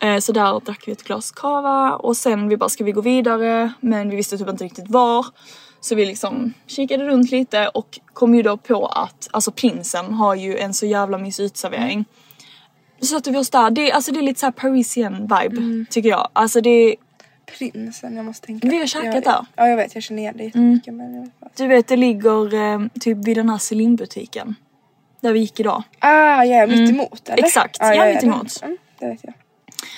Speaker 4: Eh, Så där drack vi ett glas cava och sen vi bara ska vi gå vidare men vi visste typ inte riktigt var. Så vi liksom kikade runt lite och kom ju då på att alltså prinsen har ju en så jävla mysig uteservering. Så satte vi oss där, det, är- alltså det är lite såhär parisian vibe tycker jag. Alltså det är
Speaker 3: Prinsen, jag måste tänka.
Speaker 4: Vi har käkat
Speaker 3: jag,
Speaker 4: där.
Speaker 3: Ja jag vet, jag känner igen det
Speaker 4: Mm.
Speaker 3: jättemycket men jag vet inte.
Speaker 4: Du vet det ligger eh, typ vid den här Celine-butiken. Där vi gick idag.
Speaker 3: Ah ja, mitt emot eller?
Speaker 4: Mm. Exakt,
Speaker 3: ah,
Speaker 4: ja, mitt emot.
Speaker 3: Den, mm, det vet jag.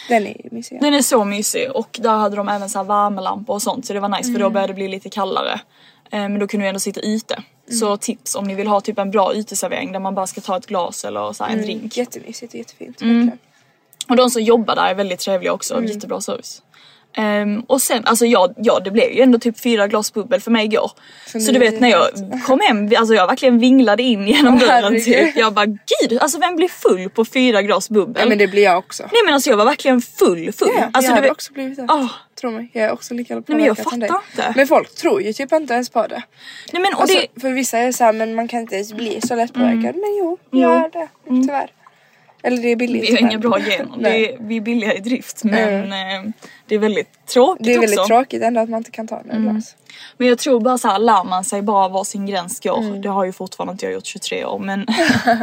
Speaker 3: Den är ju mysig.
Speaker 4: Den är så mysig och där hade de även så här värmelampor och sånt så det var nice
Speaker 3: Mm.
Speaker 4: för då började det bli lite kallare. Eh, Men då kunde vi ändå sitta ute.
Speaker 3: Mm.
Speaker 4: Så tips om ni vill ha typ en bra uteservering där man bara ska ta ett glas eller så här en
Speaker 3: Mm.
Speaker 4: drink. Mm.
Speaker 3: Jättemysigt och jättefint. verkligen.
Speaker 4: Och de som jobbar där är väldigt trevliga också,
Speaker 3: Mm.
Speaker 4: jättebra service. Ehm, och sen, alltså ja, ja det blev ju ändå typ fyra glas bubbel för mig igår. Så,
Speaker 3: nu
Speaker 4: du
Speaker 3: är
Speaker 4: vet
Speaker 3: det
Speaker 4: när jag kom hem, alltså jag verkligen vinglade in genom dörren
Speaker 3: herregud.
Speaker 4: typ. Jag bara gud, alltså vem blir full på fyra glas bubbel?
Speaker 3: Ja men det blir jag också.
Speaker 4: Nej men alltså jag var verkligen full full.
Speaker 3: Ja,
Speaker 4: alltså,
Speaker 3: jag hade
Speaker 4: vet-
Speaker 3: också blivit det.
Speaker 4: Ah.
Speaker 3: Tro mig, jag är också lika
Speaker 4: men jag
Speaker 3: påverkad som dig.
Speaker 4: fattar inte.
Speaker 3: Men folk tror ju typ inte ens på det.
Speaker 4: Nej men och
Speaker 3: Alltså,
Speaker 4: det, Mm.
Speaker 3: För vissa är såhär, men man kan inte ens bli så lättpåverkad. Men jo, jag är det. Tyvärr. Eller det är billigt.
Speaker 4: Vi har
Speaker 3: men-
Speaker 4: Mm. inga bra gener,
Speaker 3: Nej. Mm.
Speaker 4: det är, vi är billiga i drift men eh, det är väldigt tråkigt
Speaker 3: Det är väldigt
Speaker 4: också. Mm.
Speaker 3: tråkigt ändå att man inte kan ta några glas.
Speaker 4: Men jag tror bara så här, lär man sig bara var sin gräns går.
Speaker 3: Mm.
Speaker 4: Det har ju fortfarande inte jag gjort 23 år men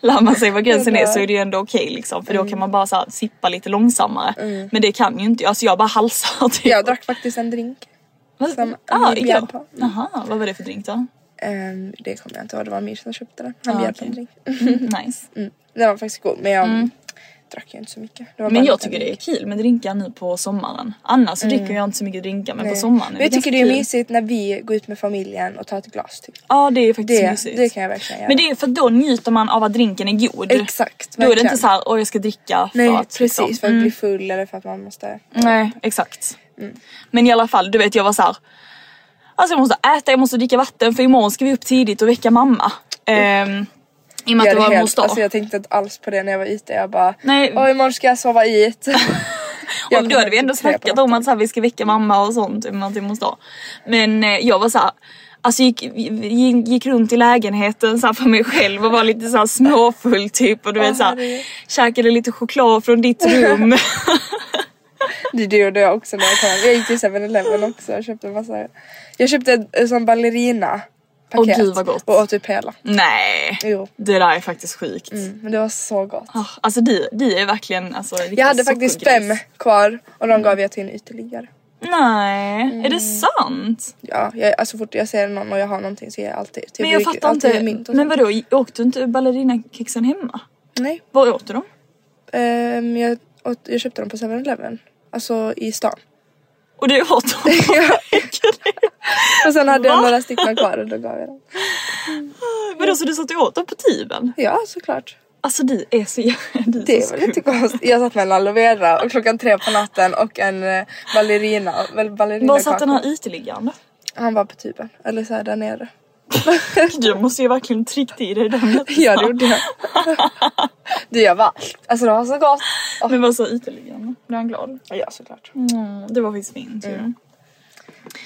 Speaker 4: lär man sig var gränsen är så är det ju ändå okej liksom för
Speaker 3: Mm.
Speaker 4: då kan man bara så här, sippa lite långsammare. Men det kan ju inte jag, alltså jag bara halsar typ.
Speaker 3: Jag drack Mm, faktiskt en drink.
Speaker 4: Vad-
Speaker 3: som
Speaker 4: ah,
Speaker 3: vi bjöd
Speaker 4: igår.
Speaker 3: på.
Speaker 4: Aha, vad var det för drink då?
Speaker 3: Ehm, det kommer jag inte ihåg, det var Amir som köpte den. Han
Speaker 4: Ah,
Speaker 3: bjöd på Mm.
Speaker 4: okej.
Speaker 3: en drink.
Speaker 4: Mm, nice.
Speaker 3: Mm. Den var faktiskt god men jag... drack jag inte så mycket. Det var
Speaker 4: Men
Speaker 3: bara
Speaker 4: jag
Speaker 3: lite
Speaker 4: tycker det är
Speaker 3: mjuk.
Speaker 4: kul med drinkar nu på sommaren. Annars så dricker jag inte så mycket drinkar men på
Speaker 3: Mm. Nej.
Speaker 4: sommaren
Speaker 3: Men jag tycker det är
Speaker 4: ganska kul.
Speaker 3: mysigt när vi går ut med familjen och tar ett glas typ.
Speaker 4: Ja det är faktiskt
Speaker 3: Det,
Speaker 4: mysigt.
Speaker 3: det kan jag verkligen göra.
Speaker 4: Men det är för att då njuter man av att drinken är god.
Speaker 3: Exakt,
Speaker 4: Då är det
Speaker 3: verkligen.
Speaker 4: inte så här, åh jag ska dricka för
Speaker 3: Nej
Speaker 4: att
Speaker 3: precis,
Speaker 4: liksom."
Speaker 3: för att bli full eller för att man måste...
Speaker 4: Nej exakt.
Speaker 3: Mm.
Speaker 4: Men i alla fall, du vet jag var så här. Alltså jag måste äta, jag måste dricka vatten för imorgon ska vi upp tidigt och väcka mamma. Ehm, I och med att det
Speaker 3: göra
Speaker 4: var
Speaker 3: helt-
Speaker 4: mors dag.
Speaker 3: Alltså jag tänkte inte alls på det när jag var ute. Jag bara,
Speaker 4: Nej.
Speaker 3: åh imorgon ska jag sova i ett. Jag
Speaker 4: och
Speaker 3: kommer
Speaker 4: då hade vi ändå
Speaker 3: typ tre på
Speaker 4: snackat om
Speaker 3: natten.
Speaker 4: att så här, vi ska väcka mamma och sånt typ, om att vi måste ha. Men eh, jag var så här, alltså gick, gick, gick runt i lägenheten så här, för mig själv och var lite så här, småfull typ och du vet så här,
Speaker 3: herregud.
Speaker 4: käkade lite choklad från ditt rum.
Speaker 3: Det det gjorde jag också när jag kom. Jag gick till 7-Eleven också och köpte en massa. Jag köpte en, en sån ballerina paket
Speaker 4: Åh, gud, vad gott.
Speaker 3: och åt upp hela.
Speaker 4: Nej,
Speaker 3: Jo.
Speaker 4: det där är faktiskt sjukt.
Speaker 3: Mm, men det var så gott.
Speaker 4: Ah, Alltså du, du är verkligen alltså, riktigt
Speaker 3: Jag hade faktiskt
Speaker 4: sockergris.
Speaker 3: fem kvar och de gav jag till en ytterligare.
Speaker 4: Nej, är
Speaker 3: Mm.
Speaker 4: det sant?
Speaker 3: Ja, jag, alltså fort jag ser någon och jag har någonting så ger jag alltid. Typ,
Speaker 4: Men jag
Speaker 3: dricker
Speaker 4: fattar
Speaker 3: alltid
Speaker 4: inte.
Speaker 3: Mint och
Speaker 4: Men
Speaker 3: men
Speaker 4: vadå, åt du inte ballerinakexen hemma?
Speaker 3: Nej,
Speaker 4: Var åt du dem?
Speaker 3: Ehm, jag, åt, jag köpte dem på 7-Eleven. Alltså i stan.
Speaker 4: Och du åt dem?
Speaker 3: Och sen hade
Speaker 4: Va?
Speaker 3: jag några stycken kvar och då gav jag dem.
Speaker 4: Vadå så du satt och åt dem på tuben?
Speaker 3: Ja, såklart.
Speaker 4: Alltså du är så jä- du
Speaker 3: Det
Speaker 4: så
Speaker 3: är väl
Speaker 4: skum.
Speaker 3: inte konstigt. Jag satt med en aloe vera och klockan tre på natten och en eh, ballerina. Väl ballerina
Speaker 4: Var satt den här uteliggaren då?
Speaker 3: Han var på tuben. Eller så här där nere.
Speaker 4: Du måste ju verkligen tryckt i dig den.
Speaker 3: Ja, det gjorde jag. du, jag var Alltså det var så gott. Och,
Speaker 4: Men vad sa uteliggaren? Blev han glad?
Speaker 3: ja, såklart.
Speaker 4: Mm, det var faktiskt min tur.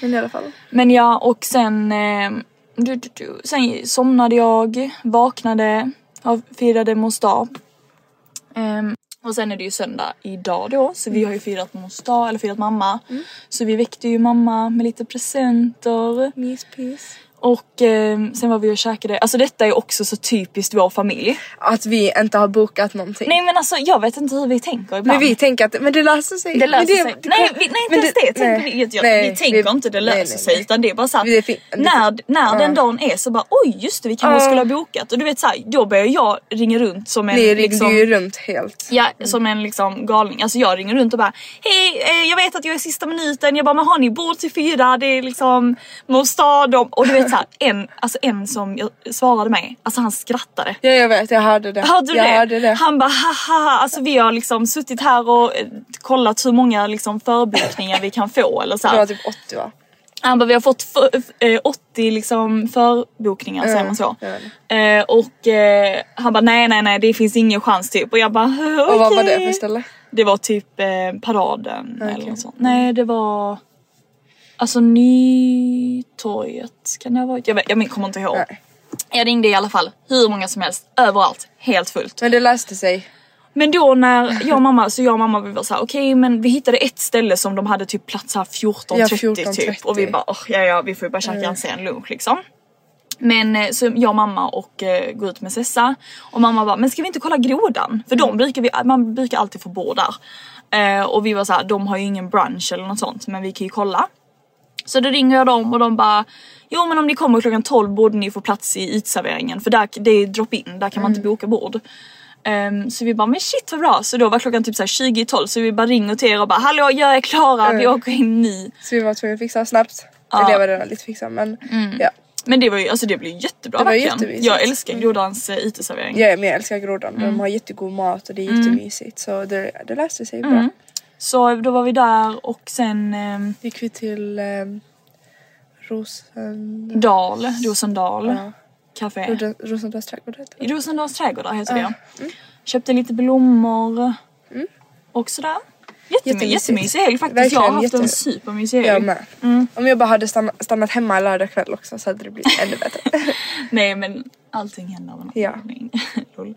Speaker 3: Men i alla fall.
Speaker 4: Men ja och sen, eh, du, du, du. sen somnade jag, vaknade, har- firade mors dag. Ehm, och sen är det ju söndag idag då så vi har ju firat mors dag, eller firat mamma.
Speaker 3: Mm.
Speaker 4: Så vi väckte ju mamma med lite presenter.
Speaker 3: Myspys.
Speaker 4: Och eh, sen var vi och käkade, alltså detta är också så typiskt vår familj.
Speaker 3: Att vi inte har bokat någonting.
Speaker 4: Nej men alltså jag vet inte hur vi tänker ibland.
Speaker 3: Men vi tänker att men det löser sig.
Speaker 4: det löser
Speaker 3: men
Speaker 4: sig. nej, vi, nej inte
Speaker 3: men
Speaker 4: ens det, tänker
Speaker 3: nej,
Speaker 4: vi. Jag,
Speaker 3: nej,
Speaker 4: vi tänker inte det löser
Speaker 3: nej, nej,
Speaker 4: sig
Speaker 3: nej.
Speaker 4: utan det är bara såhär
Speaker 3: Det är fin- det är
Speaker 4: när, när den
Speaker 3: Ja.
Speaker 4: dagen är så bara oj just det vi kanske
Speaker 3: Ja.
Speaker 4: skulle ha bokat. Och du vet såhär då börjar jag ringa runt som en
Speaker 3: Ni ringde
Speaker 4: liksom,
Speaker 3: ju runt helt.
Speaker 4: Ja, som en liksom galning. Alltså jag ringer runt och bara Hej, eh, jag vet att jag är sista minuten. Jag bara, men har ni bord till fyra? Det är liksom Mostad och, och du vet såhär en, alltså en som jag svarade mig, alltså han skrattade.
Speaker 3: Ja, jag vet. Jag hörde det.
Speaker 4: Hörde du
Speaker 3: jag
Speaker 4: det?
Speaker 3: hörde det.
Speaker 4: Han bara haha, alltså vi har liksom suttit här och eh, kollat hur många liksom förbokningar vi kan få eller så
Speaker 3: Det var
Speaker 4: här.
Speaker 3: typ 80 va?
Speaker 4: Han bara vi har fått för, eh, 80 liksom förbokningar säger man så.
Speaker 3: jag vet
Speaker 4: Eh, och eh, han bara nej nej nej det finns ingen chans typ och jag bara okej.
Speaker 3: Och vad var det för ställe?
Speaker 4: Det var typ eh, paraden eller
Speaker 3: Okej.
Speaker 4: något sånt. Nej det var alltså Nytorget kan det ha varit. Jag, vet, jag men- kommer inte ihåg.
Speaker 3: Nej.
Speaker 4: Jag ringde i alla fall hur många som helst överallt helt fullt.
Speaker 3: Men det löste sig.
Speaker 4: Men då när jag och mamma, så jag och mamma vi var såhär okej men vi hittade ett ställe som de hade typ plats här 14.30
Speaker 3: Ja,
Speaker 4: typ och vi
Speaker 3: 14.30.
Speaker 4: bara "Åh, ja ja vi får ju bara käka en sen lunch liksom. Men eh, så jag och mamma och eh, går ut med Sessa och mamma bara men ska vi inte kolla grodan? För de brukar vi, man brukar alltid få bo där. Eh, och vi var såhär de har ju ingen brunch eller något sånt men vi kan ju kolla. Så då ringer jag dem och de bara Jo men om ni kommer klockan 12 borde ni få plats i ytserveringen för där, det är drop-in, där kan man
Speaker 3: Mm.
Speaker 4: inte boka bord. Ehm, så vi bara men shit vad bra, så då var klockan typ så här 20 i 12 så vi bara ringer till er och bara hallå jag är klara, vi
Speaker 3: Mm.
Speaker 4: åker in nu.
Speaker 3: Så vi var tvungna att fixa snabbt. Eller jag var redan lite fixad men ja.
Speaker 4: Men det var ju, alltså det blev jättebra
Speaker 3: Det var
Speaker 4: verkligen.
Speaker 3: jättemysigt.
Speaker 4: jag älskar Grodans mm. uteservering.
Speaker 3: Jag är med, jag älskar grodan. De har jättegod mat och det är jättemysigt så det, det löste sig bra.
Speaker 4: Så då var vi där och sen ehm,
Speaker 3: Gick vi till ehm, Rosen...
Speaker 4: Dal, Rosendal café.
Speaker 3: Roden- Rosendals trädgård heter
Speaker 4: I
Speaker 3: det.
Speaker 4: Rosendals trädgårdar heter det ja.
Speaker 3: Mm.
Speaker 4: Köpte lite blommor och sådär. Jättemy-
Speaker 3: Jättemysigt.
Speaker 4: jättemysig helg faktiskt.
Speaker 3: Verkligen
Speaker 4: jag har haft en
Speaker 3: jättemysigt.
Speaker 4: supermysig helg.
Speaker 3: Jag med. Om jag bara hade stannat, stannat hemma lördag kväll också så hade det blivit ännu bättre.
Speaker 4: Nej men allting händer av en
Speaker 3: Ja.
Speaker 4: anledning. Lol.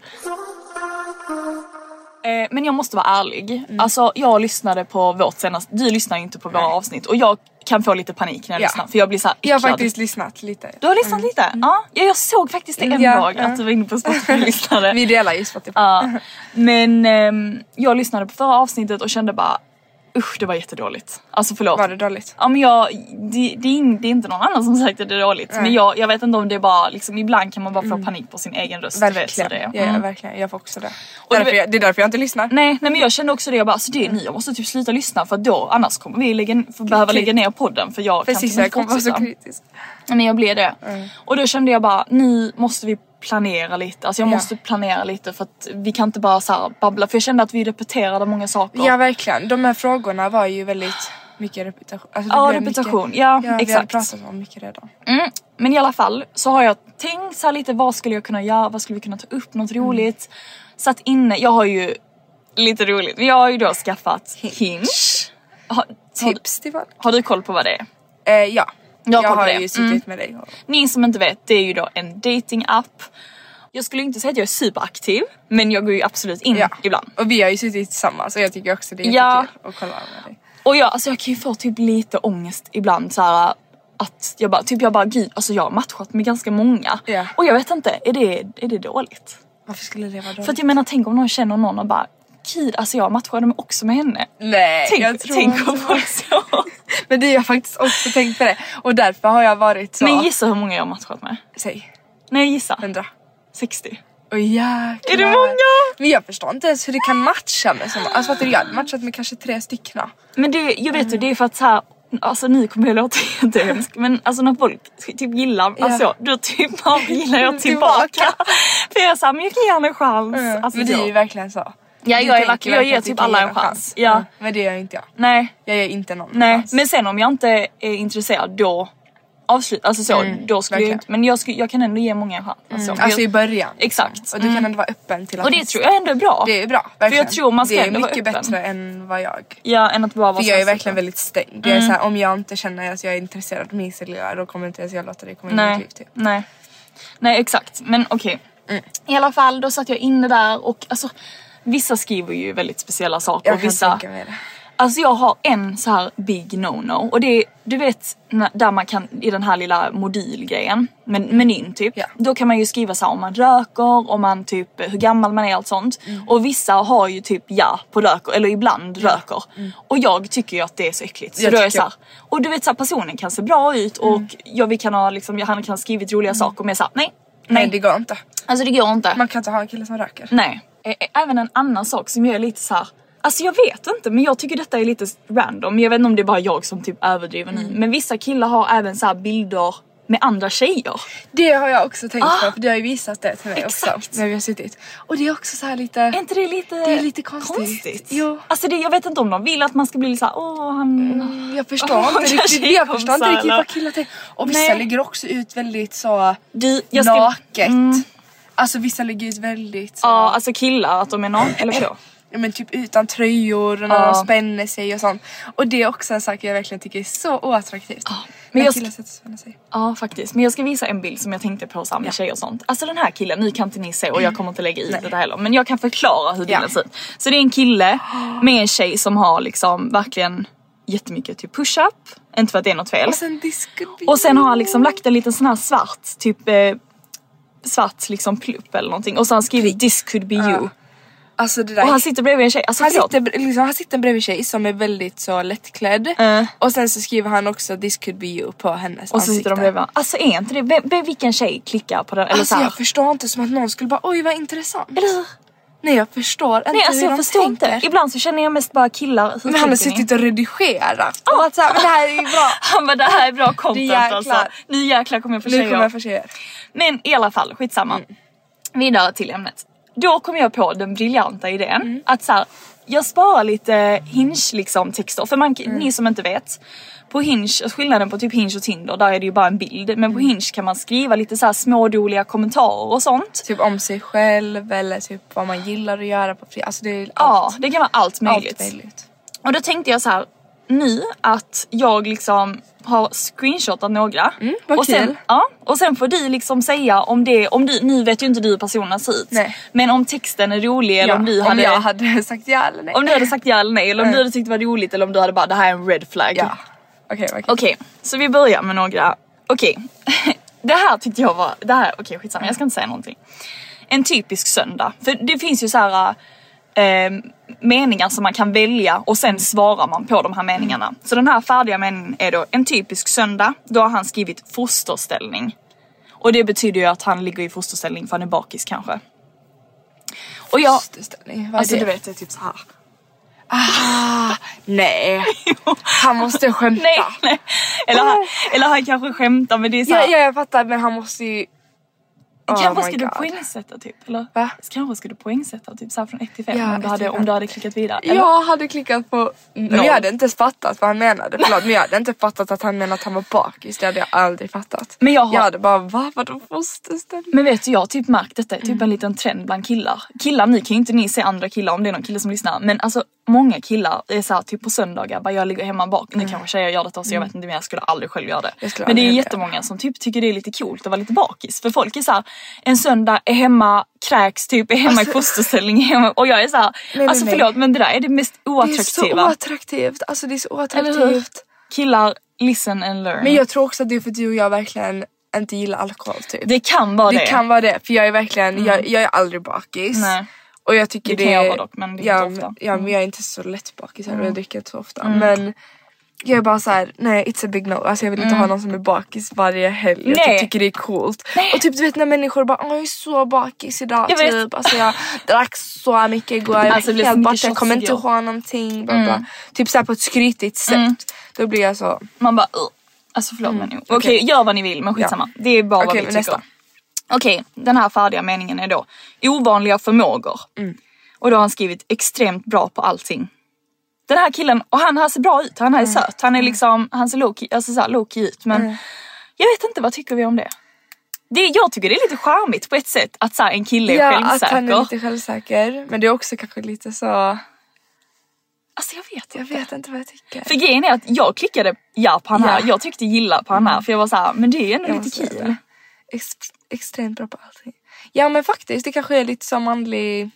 Speaker 4: Eh, Men jag måste vara ärlig.
Speaker 3: Mm.
Speaker 4: Alltså jag lyssnade på vårt senaste, du lyssnar ju inte på våra avsnitt och jag kan få lite panik när jag
Speaker 3: Ja.
Speaker 4: lyssnar för jag blir såhär
Speaker 3: jag har faktiskt lyssnat lite.
Speaker 4: Du har lyssnat lite? Ja, Ja, jag såg faktiskt det en
Speaker 3: Ja,
Speaker 4: dag
Speaker 3: ja.
Speaker 4: att du var inne på Spotify och lyssnade.
Speaker 3: Vi delar ju Spotify.
Speaker 4: Ja. Men ehm, jag lyssnade på förra avsnittet och kände bara usch det var jättedåligt. Alltså förlåt.
Speaker 3: Var det dåligt?
Speaker 4: Ja men jag, det, det, är, in- det är inte någon annan som sagt att det är dåligt. Men jag, jag vet inte om det är bara liksom, ibland kan man bara få panik på sin egen röst. du vet, så
Speaker 3: Mm. Verkligen.
Speaker 4: det-
Speaker 3: Ja,
Speaker 4: mm.
Speaker 3: ja, verkligen. Jag får också det.
Speaker 4: du
Speaker 3: Därför
Speaker 4: vet-
Speaker 3: jag, det är därför jag inte lyssnar.
Speaker 4: Nej, nej men jag kände också det, jag bara alltså
Speaker 3: Mm.
Speaker 4: det är ni, jag måste typ sluta lyssna för då annars kommer vi lägga, för behöva
Speaker 3: Okej.
Speaker 4: lägga ner podden för jag
Speaker 3: För
Speaker 4: kan
Speaker 3: Cissi
Speaker 4: typ
Speaker 3: kommer vara
Speaker 4: inte
Speaker 3: så
Speaker 4: fortsätta.
Speaker 3: kritisk.
Speaker 4: Nej, Men jag blev det.
Speaker 3: Mm.
Speaker 4: Och då kände jag bara, nu måste vi planera lite, alltså jag
Speaker 3: Ja.
Speaker 4: måste planera lite för att vi kan inte bara så här babbla för jag kände att vi repeterade många saker.
Speaker 3: Ja verkligen. De här frågorna var ju väldigt mycket reputation. Alltså, det
Speaker 4: Ja,
Speaker 3: blev
Speaker 4: repetition.
Speaker 3: mycket-
Speaker 4: Ja,
Speaker 3: ja Vi hade
Speaker 4: exakt.
Speaker 3: pratat om mycket redan.
Speaker 4: Mm. Men i alla fall så har jag tänkt så här lite vad skulle jag kunna göra, vad skulle vi kunna ta upp, något
Speaker 3: Mm.
Speaker 4: roligt. Satt inne, jag har ju lite roligt, men jag har ju då skaffat Hinge. Har, har,
Speaker 3: Tips till folk.
Speaker 4: har du koll på vad det är?
Speaker 3: Eh, ja.
Speaker 4: Jag
Speaker 3: jag
Speaker 4: har koll på
Speaker 3: har
Speaker 4: det.
Speaker 3: ju suttit med dig. och-
Speaker 4: Ni som inte vet, det är ju då en dating app. Jag skulle inte säga att jag är superaktiv, men jag går ju absolut in
Speaker 3: Ja.
Speaker 4: ibland.
Speaker 3: Och vi har ju suttit tillsammans och jag tycker också det är
Speaker 4: Ja.
Speaker 3: jättekul att kolla med dig.
Speaker 4: Och jag, alltså jag kan ju få typ lite ångest ibland så här att jag bara, typ jag bara gud, alltså jag har matchat med ganska många.
Speaker 3: Ja.
Speaker 4: Och jag vet inte, är det, är det dåligt?
Speaker 3: Varför skulle det vara dåligt?
Speaker 4: För att jag menar tänk om någon känner någon och bara Gud alltså jag matchade mig också med henne.
Speaker 3: Nej,
Speaker 4: tänk
Speaker 3: jag tror
Speaker 4: tänk
Speaker 3: inte
Speaker 4: om folk så.
Speaker 3: Men det har jag faktiskt också tänkt på det. Och därför har jag varit så...
Speaker 4: Men gissa hur många jag har matchat med?
Speaker 3: Säg,
Speaker 4: Nej gissa.
Speaker 3: hundra.
Speaker 4: 60.
Speaker 3: Åh jäklar.
Speaker 4: Är det många?
Speaker 3: Men jag förstår inte ens hur det kan matcha med så många. Alltså fattar du, jag hade matchat med kanske tre stycken.
Speaker 4: Men det, jag
Speaker 3: Mm.
Speaker 4: vet ju det är för att så här, alltså ni kommer ju låta jättehemskt men alltså när folk typ gillar,
Speaker 3: Ja.
Speaker 4: alltså då typ bara gillar jag
Speaker 3: Tillbaka.
Speaker 4: tillbaka. för jag är såhär, men jag kan ge henne en chans. Alltså,
Speaker 3: men det är
Speaker 4: så.
Speaker 3: ju verkligen så.
Speaker 4: Ja,
Speaker 3: Du
Speaker 4: jag, är
Speaker 3: tänker
Speaker 4: verkligen, jag ger
Speaker 3: att du
Speaker 4: typ
Speaker 3: kan
Speaker 4: alla
Speaker 3: ge
Speaker 4: en chans. Ja.
Speaker 3: Mm, Men det gör inte jag.
Speaker 4: Nej,
Speaker 3: Jag ger inte någon en
Speaker 4: nej.
Speaker 3: chans.
Speaker 4: Men sen om jag inte är intresserad då avsluta, alltså så, då skulle jag
Speaker 3: Mm, verkligen.
Speaker 4: inte, men jag, skulle, jag kan ändå ge många en chans. Alltså, jag-
Speaker 3: Alltså i början.
Speaker 4: Exakt.
Speaker 3: Och du kan ändå vara öppen till att
Speaker 4: mm. Och det tror jag ändå är bra.
Speaker 3: Det är bra, verkligen.
Speaker 4: tror man ska
Speaker 3: det är
Speaker 4: ändå vara
Speaker 3: mycket
Speaker 4: öppen.
Speaker 3: bättre än vad jag
Speaker 4: Ja, än att bara vara Mm.
Speaker 3: För jag är
Speaker 4: såhär
Speaker 3: verkligen väldigt stängd. Jag är såhär, om jag inte känner att jag är intresserad av min cellula då kommer inte ens jag låta dig komma in i mitt
Speaker 4: Nej,
Speaker 3: liv. Typ. Mm.
Speaker 4: nej. Nej exakt, men okej. I alla fall då satt jag inne där och alltså vissa skriver ju väldigt speciella saker
Speaker 3: Jag
Speaker 4: och
Speaker 3: kan
Speaker 4: vissa...
Speaker 3: tänka mig det.
Speaker 4: Alltså jag har en så här big no-no och det är, du vet när- där man kan i den här lilla modylgrejen, men, menyn typ.
Speaker 3: Ja.
Speaker 4: Då kan man ju skriva så här om man röker, om man typ eh, hur gammal man är och allt sånt.
Speaker 3: Mm.
Speaker 4: Och vissa har ju typ ja på röker eller ibland röker.
Speaker 3: Mm.
Speaker 4: Och jag tycker ju att det är så äckligt. Så
Speaker 3: Jag
Speaker 4: då är jag så
Speaker 3: tycker-
Speaker 4: här, och du vet så här, personen kan se bra ut och
Speaker 3: Mm.
Speaker 4: jag, vi kan ha liksom, han kan ha skrivit roliga saker men jag är så här, nej, nej. Mm.
Speaker 3: Nej Mm. det går inte.
Speaker 4: Alltså det går inte.
Speaker 3: Man kan inte ha en kille som röker.
Speaker 4: Nej. Ä- ä- Även en annan sak som jag är lite så här. Alltså jag vet inte men jag tycker detta är lite random. Jag vet inte om det är bara jag som typ överdriver
Speaker 3: Mm.
Speaker 4: nu. Men vissa killar har även så här bilder med andra tjejer.
Speaker 3: Det har jag också tänkt på
Speaker 4: Ah!
Speaker 3: för du har ju visat det till mig
Speaker 4: Exakt.
Speaker 3: också. När vi har suttit. Och det är också så här
Speaker 4: Är
Speaker 3: lite...
Speaker 4: inte det lite,
Speaker 3: Det är lite konstigt. Jo.
Speaker 4: Alltså det, jag vet inte om de vill att man ska bli så här, åh han...
Speaker 3: Jag förstår
Speaker 4: Många
Speaker 3: inte riktigt, jag förstår inte
Speaker 4: tjejkompisar,
Speaker 3: riktigt
Speaker 4: eller?
Speaker 3: vad killar tänker. Och vissa
Speaker 4: Nej.
Speaker 3: lägger också ut väldigt så
Speaker 4: Du,
Speaker 3: naket.
Speaker 4: Mm.
Speaker 3: Alltså vissa lägger ut väldigt så...
Speaker 4: Ja alltså killar att de är någon, eller vadå?
Speaker 3: Ja men typ utan tröjor och när
Speaker 4: Ja.
Speaker 3: de spänner sig och sånt. Och det är också en sak jag verkligen tycker är så oattraktivt.
Speaker 4: men
Speaker 3: när
Speaker 4: jag
Speaker 3: killar
Speaker 4: sk-
Speaker 3: sätter sig och spänner sig.
Speaker 4: Ja faktiskt, men jag ska visa en bild som jag tänkte på så här med tjejer och sånt. Alltså den här killen, nu kan inte ni se och jag kommer inte lägga i det där heller men jag kan förklara hur
Speaker 3: Ja.
Speaker 4: bilden ser ut. Så det är en kille med en tjej som har liksom verkligen jättemycket typ push-up, inte för att det är något fel.
Speaker 3: Och sen diskbit.
Speaker 4: Och sen har han liksom lagt en liten sån här svart, typ eh, svart liksom plupp eller någonting och så har han skrivit this could be you.
Speaker 3: Alltså det där.
Speaker 4: Och han sitter bredvid en tjej, alltså
Speaker 3: han
Speaker 4: förlåt.
Speaker 3: sitter, liksom, han sitter bredvid en tjej som är väldigt så lättklädd. Och sen så skriver han också this could be you på hennes
Speaker 4: Och så sitter de bredvid varandra. Alltså är inte det, vem, vem, vilken tjej klickar på den? Eller
Speaker 3: Alltså
Speaker 4: så här.
Speaker 3: jag förstår inte som att någon skulle bara oj vad intressant.
Speaker 4: Eller hur?
Speaker 3: Nej jag förstår inte
Speaker 4: Nej alltså
Speaker 3: hur
Speaker 4: jag
Speaker 3: de
Speaker 4: förstår
Speaker 3: tänker.
Speaker 4: inte. Ibland så känner jag mest bara killar. Hur
Speaker 3: Men han har
Speaker 4: tänker ni?
Speaker 3: suttit och redigerat. Och att så här, men det här är ju bra.
Speaker 4: Han bara det här är bra content
Speaker 3: Det är jäklar.
Speaker 4: alltså. Nu jäklar kommer jag få
Speaker 3: Nu kommer jag
Speaker 4: tjejer.
Speaker 3: Mm. få tjejer.
Speaker 4: Men i alla fall skitsamma. Vidare till ämnet. Då kom jag på den briljanta idén
Speaker 3: Mm.
Speaker 4: att så här, jag sparar lite hinge liksom texter för man,
Speaker 3: Mm.
Speaker 4: ni som inte vet på hinge, skillnaden på typ hinge och tinder där är det ju bara en bild men på
Speaker 3: Mm.
Speaker 4: hinge kan man skriva lite så här smådoliga kommentarer och sånt.
Speaker 3: Typ om sig själv eller typ vad man gillar att göra på fritiden. Alltså det är
Speaker 4: Ja
Speaker 3: allt.
Speaker 4: det kan vara allt möjligt.
Speaker 3: Allt möjligt.
Speaker 4: Och då tänkte jag så här nu att jag liksom har screenshotat några.
Speaker 3: Mm, vad
Speaker 4: och, sen,
Speaker 3: kul.
Speaker 4: ja, och sen får du liksom säga om det, om du, nu vet ju inte du hur personen ser ut.
Speaker 3: Nej.
Speaker 4: Men om texten är rolig eller
Speaker 3: Ja,
Speaker 4: om du hade
Speaker 3: jag hade sagt ja eller nej.
Speaker 4: om du hade sagt ja eller nej eller om du hade tyckt det var roligt eller om du hade bara det här är en red flag.
Speaker 3: ja. Okej okej.
Speaker 4: Okej, så vi börjar med några. Okej, det här tyckte jag var... Det här, okej skitsamma, jag ska inte säga någonting. En typisk söndag. För det finns ju så här... eh, meningar som man kan välja och sen svarar man på de här meningarna. Så den här färdiga meningen är då en typisk söndag. Då har han skrivit fosterställning. Och det betyder ju att han ligger i fosterställning för han är bakis kanske. Och jag,
Speaker 3: Fosterställning, vad är
Speaker 4: alltså
Speaker 3: det? Ah,
Speaker 4: du vet det är typ så här.
Speaker 3: Nej, han måste skämta.
Speaker 4: Nej, nej. Eller, han, eller han kanske skämtar men det är så
Speaker 3: Ja,
Speaker 4: här,
Speaker 3: ja, jag fattar men han måste ju... Oh
Speaker 4: Kanske
Speaker 3: my
Speaker 4: ska du
Speaker 3: God.
Speaker 4: poängsätta typ? Eller?
Speaker 3: Va?
Speaker 4: Kanske ska du poängsätta typ så här från 1 till 5
Speaker 3: Ja,
Speaker 4: om,
Speaker 3: ett
Speaker 4: du hade,
Speaker 3: till
Speaker 4: om
Speaker 3: fem.
Speaker 4: du hade klickat vidare? eller?
Speaker 3: Jag hade klickat på... Mm, Men jag hade inte ens fattat vad han menade. Förlåt men jag hade inte fattat att han menade att han var bakis. Det hade jag aldrig fattat.
Speaker 4: Men jag har-
Speaker 3: jag hade bara va? Vadå fosterställning?
Speaker 4: Men vet du, jag har typ märkt detta är typ
Speaker 3: Mm.
Speaker 4: en liten trend bland killar. Killar, ni kan ju inte ni se andra killar om det är någon kille som lyssnar. Men alltså många killar är såhär typ på söndagar, bara jag ligger hemma bak. Nu kanske tjejer gör detta så jag vet inte men jag skulle aldrig själv göra det.
Speaker 3: Mm. Jag skulle
Speaker 4: Men det är
Speaker 3: aldrig
Speaker 4: jättemånga som typ tycker det är lite coolt att vara lite bakis. För folk är såhär, en söndag är hemma, kräks typ, är hemma i fosterställning är hemma. Och jag är såhär,
Speaker 3: Alltså- nej,
Speaker 4: alltså
Speaker 3: nej.
Speaker 4: förlåt men det där är det mest
Speaker 3: Det är så
Speaker 4: oattraktiva.
Speaker 3: oattraktivt. Alltså det är så
Speaker 4: Eller hur?
Speaker 3: oattraktivt.
Speaker 4: Killar, listen and learn.
Speaker 3: Men jag tror också att det är för att du och jag verkligen inte gillar alkohol typ.
Speaker 4: det kan vara det.
Speaker 3: Det kan vara det för jag är verkligen, jag, jag är aldrig bakis.
Speaker 4: Mm. Nej.
Speaker 3: Och jag tycker
Speaker 4: Det
Speaker 3: det,
Speaker 4: kan jag vara dock, men det är
Speaker 3: ja,
Speaker 4: inte ofta. Mm.
Speaker 3: Ja men jag är inte så lätt bakis här och jag dricker inte så ofta. Men jag är bara så här: nej it's a big no. Alltså jag vill inte ha någon som är bakis varje helg. Jag
Speaker 4: Mm.
Speaker 3: typ
Speaker 4: Nej.
Speaker 3: tycker det är coolt. Och typ du vet när människor bara, "Åh, jag är så bakis idag.
Speaker 4: Jag vet.
Speaker 3: typ. Alltså jag drack så mycket igår. Jag
Speaker 4: Alltså, det
Speaker 3: var
Speaker 4: blir så
Speaker 3: helt
Speaker 4: mycket Mm.
Speaker 3: borta, jag kommer
Speaker 4: shots
Speaker 3: inte
Speaker 4: igår."
Speaker 3: ihåg någonting. Bla, bla. Typ såhär på ett skrytigt sätt.
Speaker 4: Mm.
Speaker 3: Då blir jag så,
Speaker 4: Man bara Ugh. Alltså förlåt men okej gör vad ni vill men skitsamma. Det är bara
Speaker 3: Mm, Okej,
Speaker 4: vad vi
Speaker 3: men
Speaker 4: tycker.
Speaker 3: nästa.
Speaker 4: Okej den här färdiga meningen är då ovanliga förmågor.
Speaker 3: Mm.
Speaker 4: Och då har han skrivit extremt bra på allting. Den här killen, och han här ser bra ut, han här är
Speaker 3: Mm.
Speaker 4: söt, han är liksom, han ser low-key alltså så här low-key ut men jag vet inte vad tycker vi om det? det? Jag tycker det är lite charmigt på ett sätt att så här, en kille är
Speaker 3: ja
Speaker 4: självsäker.
Speaker 3: att han är lite självsäker. Men det är också kanske lite så,
Speaker 4: Alltså jag vet
Speaker 3: jag
Speaker 4: inte.
Speaker 3: vet inte vad jag tycker.
Speaker 4: För grejen är att jag klickade ja på han här,
Speaker 3: Ja.
Speaker 4: jag tryckte gilla på han här för jag var så här, men det är ju ändå
Speaker 3: Jag
Speaker 4: lite
Speaker 3: måste säga
Speaker 4: kul.
Speaker 3: det. Ex extremt bra på allting. Ja men faktiskt, det kanske är lite som manlig...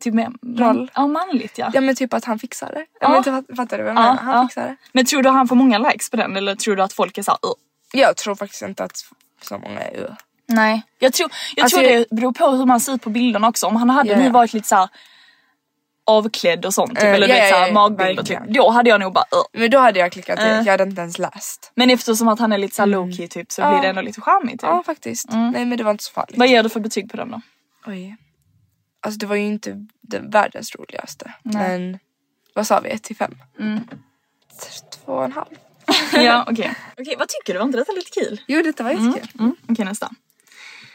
Speaker 4: Typ med
Speaker 3: Roll.
Speaker 4: Ja, manligt ja.
Speaker 3: Ja men typ att han fixar det.
Speaker 4: Ja.
Speaker 3: Ja. Men, inte fatt- fattar du vad jag
Speaker 4: Ja,
Speaker 3: menar? Han
Speaker 4: ja.
Speaker 3: fixar det.
Speaker 4: Men tror du han får många likes på den eller tror du att folk är såhär uh?
Speaker 3: Jag tror faktiskt inte att så många är ju.
Speaker 4: Nej. Jag, tror, jag
Speaker 3: Alltså,
Speaker 4: tror
Speaker 3: jag-
Speaker 4: det beror på hur man ser ut på bilderna också. Om han hade
Speaker 3: Ja,
Speaker 4: nu
Speaker 3: ja.
Speaker 4: varit lite såhär avklädd och sånt typ,
Speaker 3: Eh,
Speaker 4: eller du
Speaker 3: ja,
Speaker 4: vet
Speaker 3: ja,
Speaker 4: såhär
Speaker 3: ja,
Speaker 4: magbild och typ.
Speaker 3: verkligen.
Speaker 4: Då hade jag nog bara uh.
Speaker 3: Men då hade jag klickat
Speaker 4: Eh.
Speaker 3: det. Jag hade inte ens läst.
Speaker 4: Men eftersom att han är lite såhär low-key typ så blir det ändå lite charmigt. Typ.
Speaker 3: Mm. Ja faktiskt. Nej men det var inte så farligt.
Speaker 4: Vad ger du för betyg på den då?
Speaker 3: Oj. Alltså det var ju inte den världens roligaste. Men vad sa vi? 1 till 5? Mm. Två och en halv.
Speaker 4: ja okej. Okej vad tycker du? Var inte detta lite kul?
Speaker 3: Jo detta var jättekul.
Speaker 4: Mm, Okej nästa.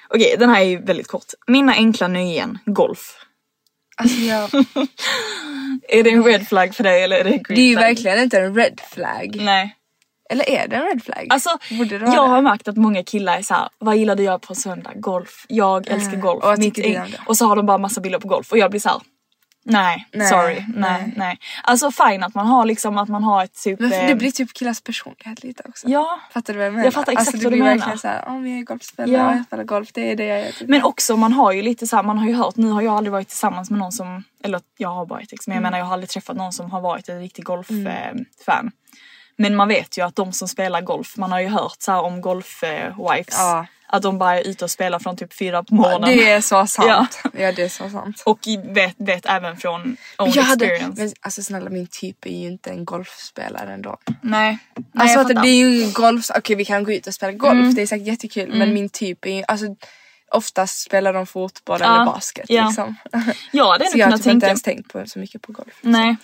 Speaker 4: Okej den här är ju väldigt kort. Mina enkla nöjen, golf.
Speaker 3: Alltså jag...
Speaker 4: Är det en red flag för dig eller är det en green
Speaker 3: Det är ju
Speaker 4: flag?
Speaker 3: verkligen inte en red flag.
Speaker 4: Nej.
Speaker 3: Eller är det en red flag?
Speaker 4: Alltså,
Speaker 3: Borde det vara
Speaker 4: jag
Speaker 3: det?
Speaker 4: har märkt att många killar är såhär, vad gillar du att göra på söndag? Golf. Jag älskar golf.
Speaker 3: Mm. och jag
Speaker 4: Mitt
Speaker 3: tycker det
Speaker 4: äng-
Speaker 3: om det.
Speaker 4: och så har de bara massa bilder på golf och jag blir såhär, nej,
Speaker 3: Nej,
Speaker 4: sorry, nej, nej,
Speaker 3: nej.
Speaker 4: Alltså fine att man har liksom, att man har ett typ...
Speaker 3: Men för det
Speaker 4: eh,
Speaker 3: blir typ killars personlighet lite också.
Speaker 4: Ja.
Speaker 3: Fattar du vad jag menar?
Speaker 4: Jag fattar exakt
Speaker 3: alltså,
Speaker 4: vad
Speaker 3: det
Speaker 4: du
Speaker 3: blir
Speaker 4: menar.
Speaker 3: verkligen såhär, om jag är golfspelare,
Speaker 4: Ja.
Speaker 3: jag spelar golf, det är det jag gör. typ.
Speaker 4: Men också man har ju lite såhär, man har ju hört, nu har jag aldrig varit tillsammans med någon som, eller jag har varit ex, men
Speaker 3: Mm.
Speaker 4: jag menar jag har aldrig träffat någon som har varit en riktig golffan. fan Men man vet ju att de som spelar golf, man har ju hört så här om golf-wives.
Speaker 3: Ja.
Speaker 4: Att de bara är ute och spelar från typ fyra på morgonen.
Speaker 3: det är så sant.
Speaker 4: Ja.
Speaker 3: Ja. det är så sant.
Speaker 4: Och i- vet, vet även från own
Speaker 3: Jag hade,
Speaker 4: experience.
Speaker 3: men alltså snälla min typ är ju inte en golfspelare ändå.
Speaker 4: Nej. Nej
Speaker 3: alltså
Speaker 4: jag
Speaker 3: att det
Speaker 4: fattar. Mm.
Speaker 3: blir ju ingen golf, okej vi kan gå ut och spela golf, det är säkert jättekul men min typ är ju, alltså oftast spelar de fotboll
Speaker 4: Ja.
Speaker 3: eller basket
Speaker 4: Ja.
Speaker 3: liksom.
Speaker 4: Jag hade ändå
Speaker 3: Så jag har
Speaker 4: kunnat
Speaker 3: typ inte
Speaker 4: tänka...
Speaker 3: ens tänkt på, så mycket på golf.
Speaker 4: Nej.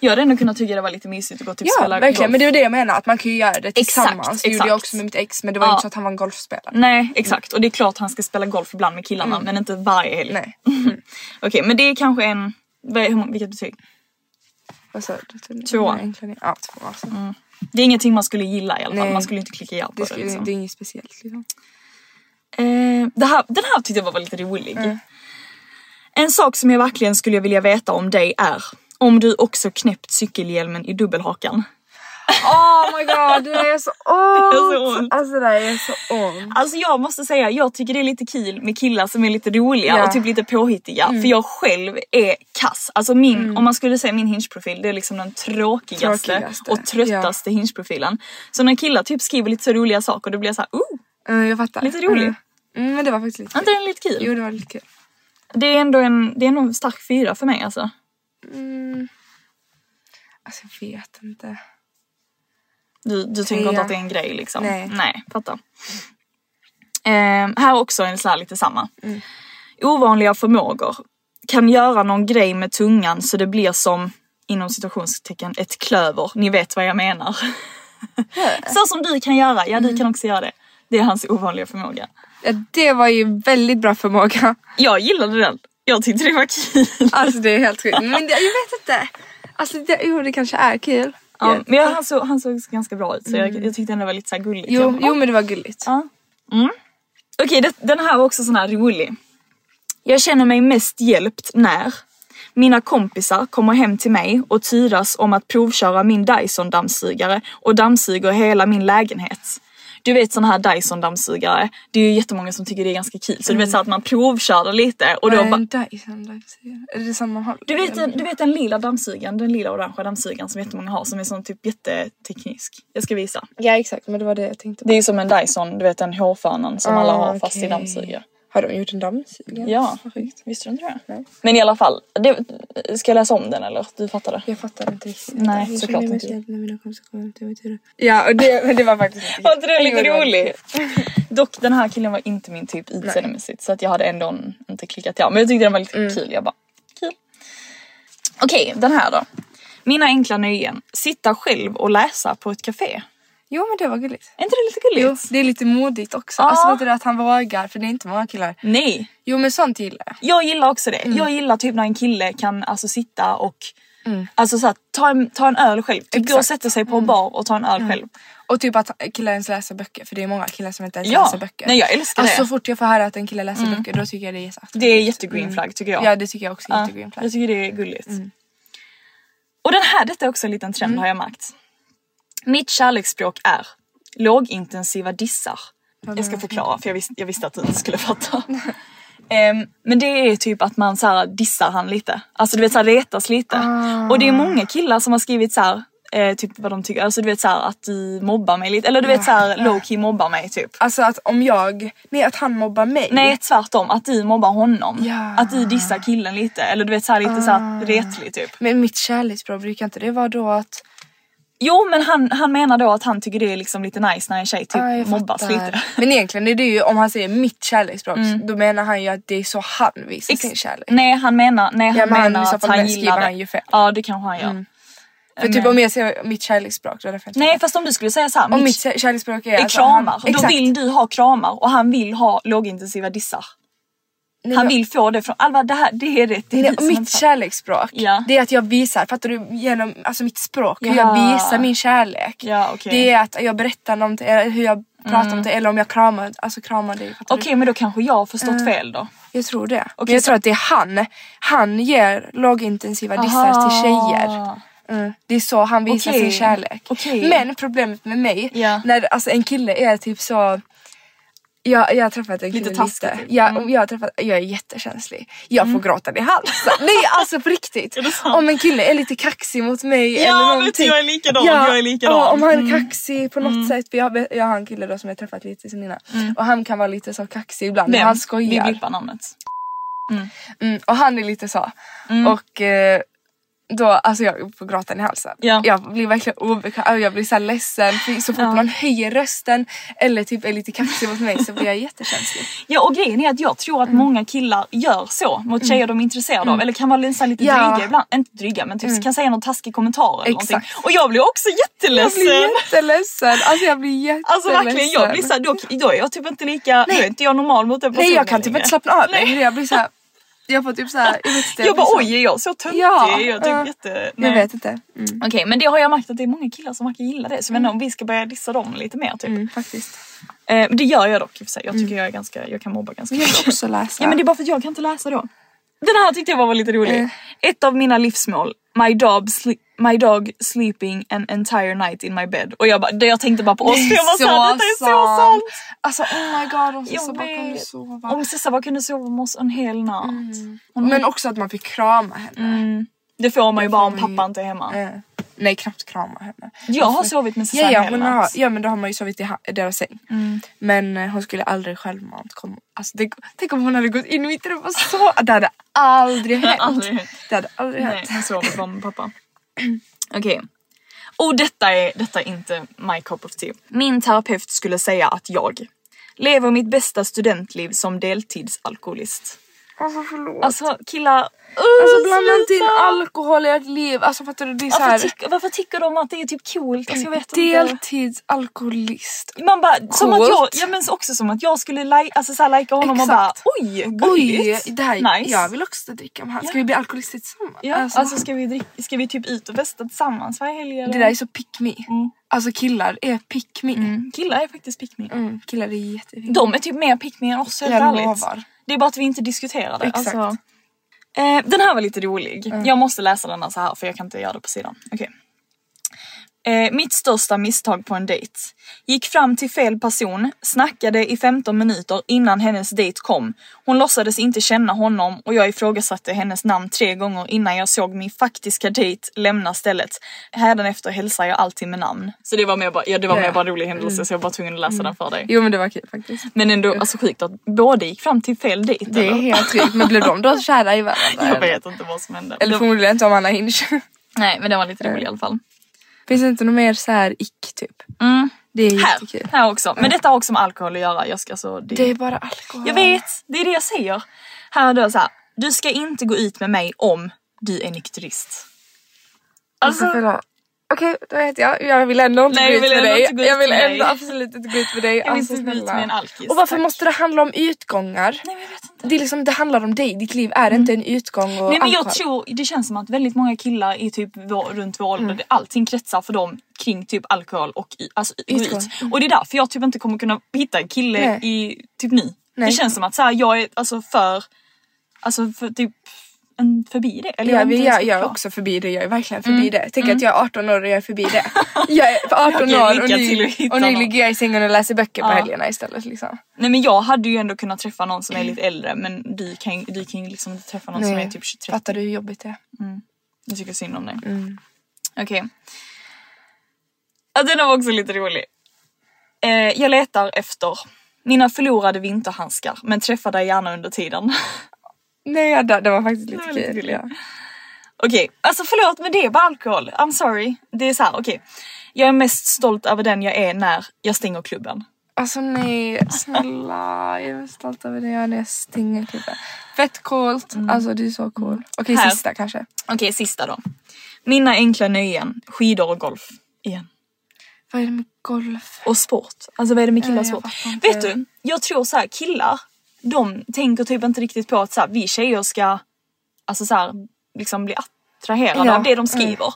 Speaker 4: Jag hade ändå kunnat tycka det var lite mysigt att gå och typ
Speaker 3: Ja
Speaker 4: spela
Speaker 3: verkligen
Speaker 4: golf.
Speaker 3: men det är ju det jag menar att man kan ju göra det tillsammans. det gjorde jag
Speaker 4: exakt.
Speaker 3: också med mitt ex men det var ju
Speaker 4: Ja.
Speaker 3: inte så att han var en golfspelare.
Speaker 4: Nej exakt och det är klart han ska spela golf ibland med killarna men inte varje helg.
Speaker 3: Mm. Nej.
Speaker 4: Mm. Okej men det är kanske en... vad är- hur många- Vilket betyg?
Speaker 3: Vad sa du?
Speaker 4: Tvåa.
Speaker 3: Nej, egentligen- Ja tvåa alltså.
Speaker 4: Det är ingenting man skulle gilla i alla fall.
Speaker 3: Nej.
Speaker 4: Man skulle inte klicka ja på
Speaker 3: Det,
Speaker 4: Mm, det.
Speaker 3: skulle,
Speaker 4: liksom.
Speaker 3: det är inget speciellt liksom.
Speaker 4: Eh, det här, den här tyckte jag var lite rolig.
Speaker 3: Mm.
Speaker 4: En sak som jag verkligen skulle vilja veta om dig är om du också knäppt cykelhjälmen i dubbelhakan.
Speaker 3: Oh my god, det där gör så
Speaker 4: Det gör så ont.
Speaker 3: ont! Alltså det där gör så ont.
Speaker 4: Alltså jag måste säga, jag tycker det är lite kul med killar som är lite roliga
Speaker 3: Ja. Mm.
Speaker 4: och typ lite påhittiga. För jag själv är kass. Alltså min, om man skulle säga min hinge-profil, det är liksom den tråkigaste,
Speaker 3: Tråkigaste.
Speaker 4: och tröttaste hinge-profilen. Så när killar typ skriver lite så roliga saker, då blir jag såhär, oh,
Speaker 3: Mm, jag fattar.
Speaker 4: Lite rolig.
Speaker 3: Mm. Mm, men det var faktiskt lite
Speaker 4: är
Speaker 3: kul.
Speaker 4: inte den lite kul?
Speaker 3: Jo det var lite kul.
Speaker 4: Det är ändå en, det är nog en stark fyra för mig alltså.
Speaker 3: Alltså jag vet inte.
Speaker 4: Du, du tänker inte
Speaker 3: Trea.
Speaker 4: att det är en grej liksom?
Speaker 3: Nej.
Speaker 4: Nej fattar. Ehm, här också en så här lite samma.
Speaker 3: Mm.
Speaker 4: Ovanliga förmågor. Kan göra någon grej med tungan så det blir som, inom citationstecken, ett klöver. Ni vet vad jag menar. så som du kan göra. Ja, du
Speaker 3: Mm.
Speaker 4: kan också göra det. Det är hans ovanliga förmåga.
Speaker 3: Ja, det var ju väldigt bra förmåga.
Speaker 4: Jag gillade den. Jag tyckte det var kul.
Speaker 3: Alltså det är helt sjukt. Men det, jag vet inte. Alltså det, jo det kanske är kul.
Speaker 4: Ja, men jag, han, såg, han såg ganska bra ut så jag, jag tyckte den var lite så här gullig.
Speaker 3: Mm. Jo, jo men det var gulligt.
Speaker 4: Ja. Mm. Okej, det, den här var också sån här rolig. Jag känner mig mest hjälpt när mina kompisar kommer hem till mig och tyras om att provköra min Dyson-dammsugare och dammsuger hela min lägenhet. Du vet såna här Dyson-dammsugare, det är ju jättemånga som tycker det är ganska kul. Så du vet så här att man provkör det lite och
Speaker 3: Vad
Speaker 4: då
Speaker 3: är
Speaker 4: bara...
Speaker 3: en Dyson dammsugare? Är det samma håll?
Speaker 4: Du vet, den- du vet den lila dammsugaren, den lila orangea dammsugaren som jättemånga har som är sån typ jätteteknisk. Jag ska visa.
Speaker 3: Ja exakt men det var det jag tänkte på.
Speaker 4: Det är ju som en Dyson, du vet den hårfönan som alla har fast i
Speaker 3: Ah, okej.
Speaker 4: dammsugare.
Speaker 3: Har de gjort en dammsugare?
Speaker 4: Ja,
Speaker 3: Vad sjukt.
Speaker 4: visste du inte det? Men i alla fall, det, ska jag läsa om den eller? Du fattar det?
Speaker 3: Jag fattar inte riktigt.
Speaker 4: Nej,
Speaker 3: Jag
Speaker 4: såklart
Speaker 3: känner mig
Speaker 4: inte.
Speaker 3: snäll När mina kompisar kommer hem till mig till det. Ja och det, men det var faktiskt inte
Speaker 4: Var inte det lite
Speaker 3: Jo, det var-
Speaker 4: rolig? Dock den här killen var inte min typ utseendemässigt så att jag hade ändå n- inte klickat ja. Men jag tyckte den var lite
Speaker 3: Mm.
Speaker 4: kul. Jag bara, kul. Okej, den här då. Mina enkla nöjen. Sitta själv och läsa på ett café.
Speaker 3: Jo men det var gulligt.
Speaker 4: Är inte det lite
Speaker 3: Jo,
Speaker 4: gulligt?
Speaker 3: det är lite modigt också.
Speaker 4: Ja.
Speaker 3: Alltså vet du det, att han vågar för det är inte många killar.
Speaker 4: Nej,
Speaker 3: Jo men sånt gillar jag.
Speaker 4: Jag gillar också det.
Speaker 3: Mm.
Speaker 4: Jag gillar typ när en kille kan alltså sitta och alltså så här, ta, en, ta en öl själv. Typ gå och
Speaker 3: Mm. Exakt. Mm.
Speaker 4: sätta sig på en bar och ta en öl själv.
Speaker 3: Och typ att killar ens läser böcker för det är många killar som inte ens
Speaker 4: Ja,
Speaker 3: läser böcker.
Speaker 4: nej, jag älskar
Speaker 3: alltså,
Speaker 4: det.
Speaker 3: Så fort jag får höra att en kille läser böcker då tycker jag det är jätteattraktivt.
Speaker 4: Det är jättegreen flagg tycker jag.
Speaker 3: Mm. Ja det tycker jag Ah. också är
Speaker 4: Ja,
Speaker 3: jättegreen flagg. Mm.
Speaker 4: Jag tycker det är gulligt. Och den här, detta är också en liten trend har jag märkt. Mitt kärleksspråk är lågintensiva dissar. Jag ska förklara för jag visste, jag visste att du inte skulle fatta.
Speaker 3: Mm.
Speaker 4: Ehm, men det är typ att man så här dissar han lite. Alltså du vet så här retas lite. Och
Speaker 3: Ah.
Speaker 4: det är många killar som har skrivit så här. eh, typ vad de tycker, alltså du vet såhär att du mobbar mig lite, eller du vet såhär low key mobbar mig typ.
Speaker 3: Alltså att om jag, nej att han mobbar mig.
Speaker 4: Nej tvärtom, att du mobbar honom.
Speaker 3: Typ. Ja. Ah.
Speaker 4: Att du dissar killen lite, eller du vet såhär lite såhär retlig typ.
Speaker 3: Men mitt kärleksspråk brukar inte det vara då att...
Speaker 4: Jo men han, han menar då att han tycker det är liksom lite nice när en tjej typ
Speaker 3: Ja, jag
Speaker 4: mobbas
Speaker 3: fattar.
Speaker 4: lite. Mm.
Speaker 3: Men egentligen är det ju om han säger mitt kärleksspråk då menar han ju att det är så han visar sin kärlek.
Speaker 4: Nej han menar, nej, han
Speaker 3: men han-
Speaker 4: menar
Speaker 3: i så
Speaker 4: att
Speaker 3: fall
Speaker 4: han
Speaker 3: beskriver
Speaker 4: gillar det.
Speaker 3: han ju fel. Mm.
Speaker 4: Ja det kanske han gör.
Speaker 3: För typ om jag säger mitt kärleksspråk då är det för att-
Speaker 4: Nej fast om du skulle säga såhär,
Speaker 3: Om
Speaker 4: mitt
Speaker 3: mitt kär- kärleksspråk är
Speaker 4: är
Speaker 3: alltså
Speaker 4: kramar,
Speaker 3: han-
Speaker 4: då
Speaker 3: Exakt.
Speaker 4: vill du ha kramar och han vill ha lågintensiva dissar.
Speaker 3: Nej,
Speaker 4: Han
Speaker 3: men-
Speaker 4: vill få det från, Alva det här det är rätt, det är
Speaker 3: Nej,
Speaker 4: du
Speaker 3: och
Speaker 4: som
Speaker 3: mitt
Speaker 4: inte-
Speaker 3: kärleksspråk
Speaker 4: Ja.
Speaker 3: det är att jag visar, fattar du? Genom alltså mitt språk, hur
Speaker 4: Ja.
Speaker 3: jag visar min kärlek.
Speaker 4: Ja, okej. Mm.
Speaker 3: Det är att jag berättar någonting, eller hur jag pratar om det eller om jag kramar, alltså kramar dig. fattar
Speaker 4: Okej
Speaker 3: du?
Speaker 4: men då kanske jag har förstått fel då.
Speaker 3: Jag tror det.
Speaker 4: Okej,
Speaker 3: Men jag
Speaker 4: så-
Speaker 3: tror att det är han. Han ger lågintensiva dissar till tjejer. Mm. Det är så han visar
Speaker 4: Okej.
Speaker 3: sin kärlek.
Speaker 4: Okej.
Speaker 3: Men problemet med mig,
Speaker 4: Ja.
Speaker 3: när alltså, en kille är typ så... Jag, jag har träffat en
Speaker 4: Lite
Speaker 3: kille
Speaker 4: taskigt,
Speaker 3: lite.
Speaker 4: typ. Mm.
Speaker 3: Jag, jag, har träffat, jag är jättekänslig. Jag får gråta i halsen. Nej alltså på riktigt.
Speaker 4: det sant?
Speaker 3: Om en kille är lite kaxig mot mig
Speaker 4: Ja, vet
Speaker 3: eller
Speaker 4: du,
Speaker 3: någonting.
Speaker 4: jag är likadan, jag är likadan. Mm.
Speaker 3: Ja, om han är kaxig på något sätt. För jag, jag har en kille då som jag träffat lite sen innan.
Speaker 4: Mm.
Speaker 3: Och han kan vara lite så kaxig ibland. Men
Speaker 4: Vem?
Speaker 3: han
Speaker 4: Vi
Speaker 3: skojar.
Speaker 4: blippar namnet.
Speaker 3: Mm, och han är lite så.
Speaker 4: Mm.
Speaker 3: Och eh, då, alltså jag får gråten i halsen.
Speaker 4: Ja.
Speaker 3: Jag blir verkligen obekväm, jag blir så här ledsen. För Så fort någon höjer rösten eller typ är lite kaxig mot mig så blir jag jättekänslig.
Speaker 4: Ja och grejen är att jag tror att
Speaker 3: Mm.
Speaker 4: många killar gör så mot tjejer de är intresserade av eller kan vara lite, så här lite
Speaker 3: Ja. Mm.
Speaker 4: dryga ibland, inte dryga men typ kan säga någon taskig kommentar eller
Speaker 3: Exakt.
Speaker 4: någonting. Och jag blir också
Speaker 3: Jag
Speaker 4: jätteledsen.
Speaker 3: blir jätteledsen. Alltså jag blir jätteledsen.
Speaker 4: Alltså verkligen jag blir såhär, då, då är jag typ inte lika, då är inte jag normal mot den personen
Speaker 3: Nej jag kan typ
Speaker 4: längre.
Speaker 3: inte slappna av
Speaker 4: Nej.
Speaker 3: längre. Jag blir så här, jag får typ så här, jag vet inte.
Speaker 4: Jag
Speaker 3: blir
Speaker 4: bara
Speaker 3: så-
Speaker 4: oj är jag så töntig?
Speaker 3: Ja,
Speaker 4: jag är typ
Speaker 3: ja.
Speaker 4: jätte...
Speaker 3: liksom. Jag
Speaker 4: Nej.
Speaker 3: vet inte. Mm,
Speaker 4: Okej men det har jag märkt att det är många killar som verkar gilla det så jag vet inte om vi ska börja dissa dem lite mer typ.
Speaker 3: Mm. faktiskt.
Speaker 4: Eh, men det gör jag dock i och för sig.
Speaker 3: Mm.
Speaker 4: Jag tycker jag är ganska, jag kan mobba ganska
Speaker 3: Jag
Speaker 4: mycket.
Speaker 3: vill också läsa.
Speaker 4: Ja men det är bara för att jag kan inte läsa då. Den här tyckte jag var lite rolig.
Speaker 3: Eh.
Speaker 4: Ett av mina livsmål. My dog, sli- my dog sleeping an entire night in my bed. Och jag, bara, det- jag tänkte bara på oss.
Speaker 3: Det
Speaker 4: jag bara, så här, detta är så sant.
Speaker 3: Alltså oh my god om
Speaker 4: Jag
Speaker 3: Sissa bara kunde
Speaker 4: vet.
Speaker 3: sova.
Speaker 4: Om Sissa bara kunde sova med oss en hel natt.
Speaker 3: Mm. Men också att man fick krama henne.
Speaker 4: Mm. Det får man ju bara om
Speaker 3: får man ju.
Speaker 4: pappa inte är hemma.
Speaker 3: Eh, nej knappt krama henne.
Speaker 4: Jag har sovit med Susanne
Speaker 3: ja, ja,
Speaker 4: hela
Speaker 3: hon
Speaker 4: natt.
Speaker 3: har, ja men då har man ju sovit i ha- i deras säng.
Speaker 4: Mm.
Speaker 3: Men eh, hon skulle aldrig självmant komma. Alltså, tänk, tänk om hon hade gått in i mitt rum och så. Det hade aldrig
Speaker 4: Det
Speaker 3: hänt.
Speaker 4: har aldrig hänt.
Speaker 3: Det hade aldrig
Speaker 4: Nej,
Speaker 3: hänt.
Speaker 4: hon sover bara med pappa. Okej. Och detta är, detta är inte my cup of tea. Min terapeut skulle säga att jag lever mitt bästa studentliv som deltidsalkoholist.
Speaker 3: Alltså förlåt. Alltså,
Speaker 4: Alltså killar, uh,
Speaker 3: blanda inte in alkohol i ert liv. Alltså fattar du? Det är så
Speaker 4: varför,
Speaker 3: här,
Speaker 4: tycker, varför tycker de att det är typ coolt? Alltså, jag vet inte.
Speaker 3: deltidsalkoholist.
Speaker 4: Man bara, som att jag,
Speaker 3: Coolt.
Speaker 4: ja, men också som att jag skulle li- alltså, så här, lika honom och bara
Speaker 3: Exakt.
Speaker 4: oj,
Speaker 3: Oj,
Speaker 4: gulligt.
Speaker 3: det här,
Speaker 4: nice.
Speaker 3: jag vill också dricka med han. Ska
Speaker 4: Ja.
Speaker 3: vi bli alkoholister tillsammans?
Speaker 4: Ja, alltså, ska, vi drick- ska vi typ ut och festa tillsammans varje helg? Eller?
Speaker 3: det där är så pick me.
Speaker 4: Mm.
Speaker 3: Alltså killar är pick me. Mm.
Speaker 4: Mm, killar är faktiskt pick me.
Speaker 3: killar är jättefina.
Speaker 4: De är typ mer pick me än oss helt
Speaker 3: Jag
Speaker 4: ärligt.
Speaker 3: lovar.
Speaker 4: Det är bara att vi inte diskuterar det. Alltså,
Speaker 3: Exakt. Mm.
Speaker 4: eh, den här var lite rolig. Jag måste läsa den här så här för jag kan inte göra det på sidan. Okej. Eh, mitt största misstag på en dejt. Gick fram till fel person, snackade i 15 minuter innan hennes dejt kom. Hon låtsades inte känna honom och jag ifrågasatte hennes namn tre gånger innan jag såg min faktiska dejt lämna stället. Hädanefter hälsar jag alltid med namn. Så det var mer bara, ja, det var mer
Speaker 3: Ja. Mm.
Speaker 4: bara en rolig händelse så jag var tvungen att läsa den för dig.
Speaker 3: Jo men det var kul faktiskt.
Speaker 4: Men ändå alltså sjukt att båda gick fram till fel dejt.
Speaker 3: Det är
Speaker 4: eller?
Speaker 3: helt sjukt. Men blev de då kära i varandra?
Speaker 4: Jag
Speaker 3: eller?
Speaker 4: vet inte vad som hände.
Speaker 3: Eller
Speaker 4: Det-
Speaker 3: förmodligen inte om Anna Hinch.
Speaker 4: Nej men den var lite rolig i alla fall.
Speaker 3: Finns det inte något mer så här ick typ?
Speaker 4: Mm.
Speaker 3: Det är
Speaker 4: Här,
Speaker 3: jättekul.
Speaker 4: här också. Men detta har också med alkohol att göra. Jag, ska, alltså, det...
Speaker 3: Det är bara alkohol.
Speaker 4: jag vet, det är det jag säger. Här är det så här. Du ska inte gå ut med mig om du är nykterist.
Speaker 3: Alltså,
Speaker 4: Alltså,
Speaker 3: förlåt. Okej, då heter jag. Jag vill ändå inte
Speaker 4: Nej,
Speaker 3: gå ut
Speaker 4: jag vill
Speaker 3: med
Speaker 4: ändå
Speaker 3: dig.
Speaker 4: inte gå ut
Speaker 3: Jag vill
Speaker 4: med
Speaker 3: ändå
Speaker 4: dig.
Speaker 3: absolut inte gå ut med dig.
Speaker 4: vill
Speaker 3: alltså,
Speaker 4: inte gå ut
Speaker 3: snälla.
Speaker 4: med en alkis,
Speaker 3: Och varför
Speaker 4: tack.
Speaker 3: måste det handla om utgångar?
Speaker 4: nej men jag vet inte. Mm.
Speaker 3: Det, är liksom, det handlar om dig. Ditt liv är inte en utgång och
Speaker 4: Nej men jag
Speaker 3: alkohol.
Speaker 4: tror, det känns som att väldigt många killar i typ vår, runt vår ålder,
Speaker 3: Mm.
Speaker 4: det- allting kretsar för dem kring typ alkohol och i, alltså, i- gå
Speaker 3: Utgång.
Speaker 4: ut. Och det är därför jag typ inte kommer kunna hitta en kille
Speaker 3: Mm. Nej.
Speaker 4: i typ nu. Det
Speaker 3: Nej.
Speaker 4: känns som att så här, jag är alltså för, alltså för typ en förbi det. Eller
Speaker 3: Ja,
Speaker 4: vet
Speaker 3: men
Speaker 4: inte hur
Speaker 3: jag,
Speaker 4: ska
Speaker 3: jag är
Speaker 4: förklara.
Speaker 3: också förbi det, jag är verkligen förbi det. Tänk att jag är 18 år och jag är förbi det. Jag är för 18
Speaker 4: Okej,
Speaker 3: år och
Speaker 4: lycka till
Speaker 3: nu,
Speaker 4: att hitta
Speaker 3: och nu
Speaker 4: någon.
Speaker 3: ligger jag i sängen och läser böcker på
Speaker 4: Ja.
Speaker 3: helgerna istället. Liksom.
Speaker 4: Nej men jag hade ju ändå kunnat träffa någon som är lite äldre men du kan ju du kan ju liksom inte träffa någon som är typ 23.
Speaker 3: Fattar du hur jobbigt det är?
Speaker 4: Jag tycker synd om dig. Okej. Ja, den var också lite rolig. Eh, jag letar efter mina förlorade vinterhandskar men träffar dig gärna under tiden.
Speaker 3: Nej, jag dör. det var faktiskt lite
Speaker 4: var
Speaker 3: kul.
Speaker 4: lite kul, ja.
Speaker 3: ja.
Speaker 4: Okej, alltså förlåt men det är bara alkohol. I'm sorry. Det är så här, okej. Jag är mest stolt över den jag är när jag stänger klubben.
Speaker 3: Alltså nej, snälla. Jag är stolt över det jag när jag stänger klubben. Fett coolt. Alltså du är så cool. Okej,
Speaker 4: Här.
Speaker 3: sista kanske.
Speaker 4: Okej, sista då. Mina enkla nöjen, skidor och golf. Igen.
Speaker 3: Vad är det med golf?
Speaker 4: och sport. Alltså vad är det med
Speaker 3: Ja,
Speaker 4: killars
Speaker 3: Eh, jag
Speaker 4: sport?
Speaker 3: fattar inte.
Speaker 4: Vet du, jag tror så här killar, de tänker typ inte riktigt på att så här, vi tjejer ska alltså så här, liksom bli attraherade
Speaker 3: Ja, Mm.
Speaker 4: av det de skriver.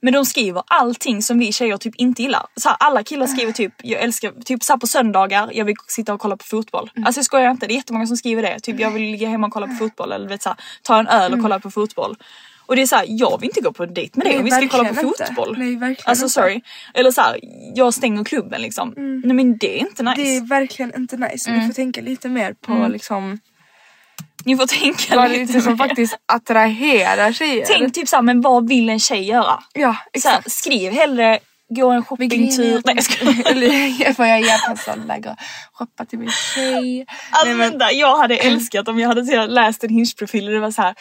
Speaker 4: Men de skriver allting som vi tjejer typ inte gillar. Så här, alla killar
Speaker 3: Eh.
Speaker 4: skriver typ, jag älskar, typ så här på söndagar, jag vill sitta och kolla på fotboll.
Speaker 3: Mm.
Speaker 4: Alltså jag skojar inte, det är jättemånga som skriver det. Typ jag vill ligga hemma och kolla på
Speaker 3: Eh.
Speaker 4: fotboll eller du vet, så här, ta en öl och kolla på fotboll. Och det är såhär, jag vill inte gå på en dejt med dig
Speaker 3: Mm. Nej,
Speaker 4: om vi ska kolla på
Speaker 3: verkligen inte.
Speaker 4: fotboll.
Speaker 3: Nej, verkligen
Speaker 4: alltså
Speaker 3: inte.
Speaker 4: sorry. Eller så här, jag stänger klubben liksom. Nej men det är inte nice.
Speaker 3: Mm. Det är verkligen inte nice. Ni får tänka lite mer på liksom
Speaker 4: Ni får tänka
Speaker 3: vad det
Speaker 4: lite.
Speaker 3: är som
Speaker 4: mer.
Speaker 3: faktiskt attraherar tjejer.
Speaker 4: Tänk typ såhär, men vad vill en tjej göra?
Speaker 3: Ja,
Speaker 4: Så här,
Speaker 3: exakt.
Speaker 4: skriv hellre gå en shoppingtur. typ. Nej jag skojar.
Speaker 3: Eller får jag hjälpa Sandberg att shoppa till min tjej?
Speaker 4: Alltså
Speaker 3: Nej, men,
Speaker 4: vänta, jag hade älskat om jag hade så här läst en Hinge-profil och det var så här.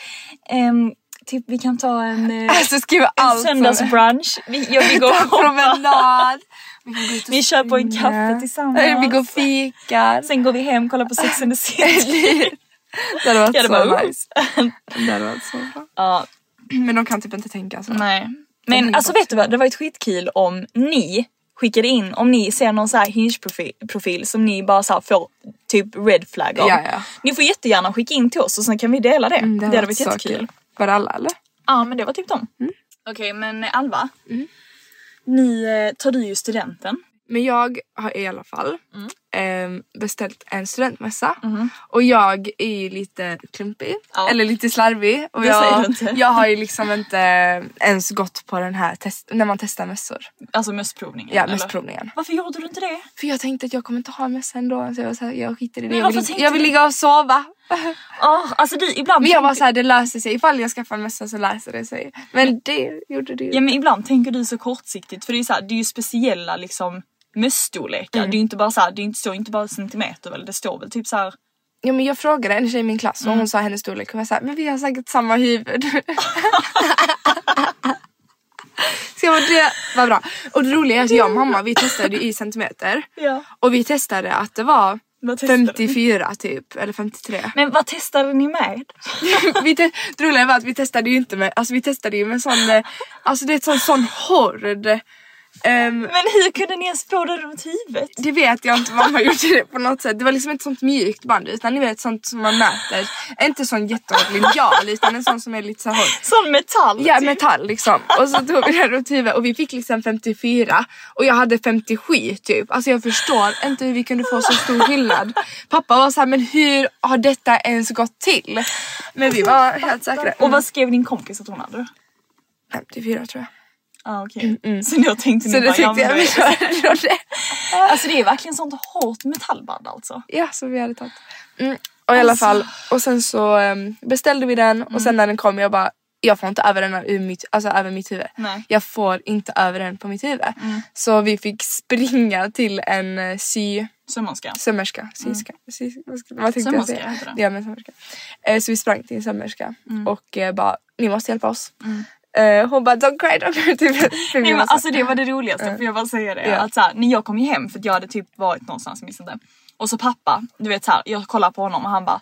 Speaker 4: ehm, typ vi kan ta en, eh,
Speaker 3: alltså skriva
Speaker 4: en
Speaker 3: allt som-
Speaker 4: söndagsbrunch. Vi, ja, vi går och shoppar.
Speaker 3: promenad. Vi kan gå ut och
Speaker 4: Vi köper en
Speaker 3: springa.
Speaker 4: kaffe tillsammans.
Speaker 3: Eller Vi går och fikar.
Speaker 4: Sen går vi hem, kollar på Sex and the City.
Speaker 3: Det hade varit
Speaker 4: Ja, det
Speaker 3: så
Speaker 4: bara, oh.
Speaker 3: nice. Det hade varit så bra.
Speaker 4: Ja,
Speaker 3: Men de kan typ inte tänka så.
Speaker 4: Nej.
Speaker 3: är
Speaker 4: Men
Speaker 3: ju
Speaker 4: alltså
Speaker 3: bra.
Speaker 4: vet du vad, det var ett skitkul om ni skickade in, om ni ser någon så här Hinge-profil som ni bara så här får typ red flag av.
Speaker 3: Ja, ja.
Speaker 4: Ni får jättegärna skicka in till oss och sen kan vi dela det.
Speaker 3: Mm,
Speaker 4: det
Speaker 3: hade varit
Speaker 4: hade varit
Speaker 3: så
Speaker 4: jättekul.
Speaker 3: kul. Mm. Var det alla eller?
Speaker 4: Ja men det var typ dem. Okej men Alva,
Speaker 3: Mm.
Speaker 4: ni eh, tar du ju studenten. Mm.
Speaker 3: Men jag har i alla fall ehm, beställt en studentmössa.
Speaker 4: Mhm.
Speaker 3: Och jag är ju lite klumpig. Eller lite slarvig. Och
Speaker 4: Det säger du
Speaker 3: jag,
Speaker 4: inte.
Speaker 3: jag har ju liksom inte ens gått på den här test- när man testar mössor.
Speaker 4: Alltså mössprovningen?
Speaker 3: Ja,
Speaker 4: eller?
Speaker 3: mössprovningen.
Speaker 4: Varför gjorde du inte det?
Speaker 3: För jag tänkte att jag kommer inte ha mössa ändå. Så jag, var så här, jag skiter i det.
Speaker 4: Men
Speaker 3: Jag
Speaker 4: varför
Speaker 3: vill,
Speaker 4: tänkte
Speaker 3: jag vill
Speaker 4: du-
Speaker 3: ligga och sova.
Speaker 4: Oh, alltså det, ibland
Speaker 3: Men jag var
Speaker 4: tänker-
Speaker 3: så här, det löser sig. Ifall jag skaffar en mössa så löser det sig. Men det gjorde det ju.
Speaker 4: Ja men ibland tänker du så kortsiktigt för det är, så här, det är ju speciella liksom mösstorlekar.
Speaker 3: Mm.
Speaker 4: Det är ju inte bara så här, det är inte, står inte bara centimeter väl, det står väl typ så här.
Speaker 3: Ja men jag frågade en tjej i min klass och
Speaker 4: Mm.
Speaker 3: hon sa hennes storlek och jag sa men vi har säkert samma huvud. Så jag bara, det var bra. Och det roliga är att jag och mamma vi testade i centimeter.
Speaker 4: Ja.
Speaker 3: Och vi testade att det var
Speaker 4: Vad testade ni?
Speaker 3: 54 typ eller 53.
Speaker 4: Men vad testade ni med?
Speaker 3: vi te- det roliga var att vi testade ju inte med, alltså vi testade ju med sån, eh, alltså det är ett sån, sån hård. ehm,
Speaker 4: Men hur kunde ni ens få det runt huvudet?
Speaker 3: det vet jag inte, mamma gjorde det på något sätt. Det var liksom inte sånt mjukt band utan ni vet sånt som man mäter. Inte sån jättehård linjal utan en sån som är lite så här hård.
Speaker 4: Sån metall?
Speaker 3: Ja
Speaker 4: typ.
Speaker 3: metall liksom. Och så tog vi den runt huvudet och vi fick liksom 54 och jag hade 57 typ. Alltså jag förstår inte hur vi kunde få så stor skillnad. Pappa var så här, men hur har detta ens gått till? Men vi var helt säkra.
Speaker 4: Och vad skrev din kompis att hon hade? Ja
Speaker 3: 54 tror jag.
Speaker 4: ah, okej. Så då tänkte
Speaker 3: Mm, Så
Speaker 4: ni
Speaker 3: det tyckte
Speaker 4: bara ja, men
Speaker 3: jag
Speaker 4: då
Speaker 3: vi
Speaker 4: är det-
Speaker 3: körde.
Speaker 4: Alltså det är verkligen sånt hårt metallband alltså.
Speaker 3: Ja så vi hade tagit. Mm. Och i alla
Speaker 4: Alltså. Mm.
Speaker 3: fall och sen så ehm, beställde vi den och sen när den kom jag bara jag får inte över den här ur mitt, alltså över mitt huvud.
Speaker 4: Nej. Mm.
Speaker 3: Jag får inte över den på mitt huvud. Så vi fick springa till en eh, sy
Speaker 4: Sömmerska.
Speaker 3: sömmerska. Syska. Sy, vad ska- vad tänkte
Speaker 4: Mm. Sömmerska
Speaker 3: jag säga?
Speaker 4: heter det. Mm.
Speaker 3: Ja, men sömmerska. Eh, så vi sprang till en sömmerska och eh, bara, ni måste hjälpa oss. Eh, hon bara, don't cry, don't cry. Typ, för vi
Speaker 4: Nej, men
Speaker 3: var så- "Äh,
Speaker 4: alltså det var det roligaste, får jag bara säga det?
Speaker 3: Ja.
Speaker 4: Att så här, när jag kom ju hem, för att jag hade typ varit någonstans, jag minns inte. Och så pappa, du vet så här, jag kollar på honom och han bara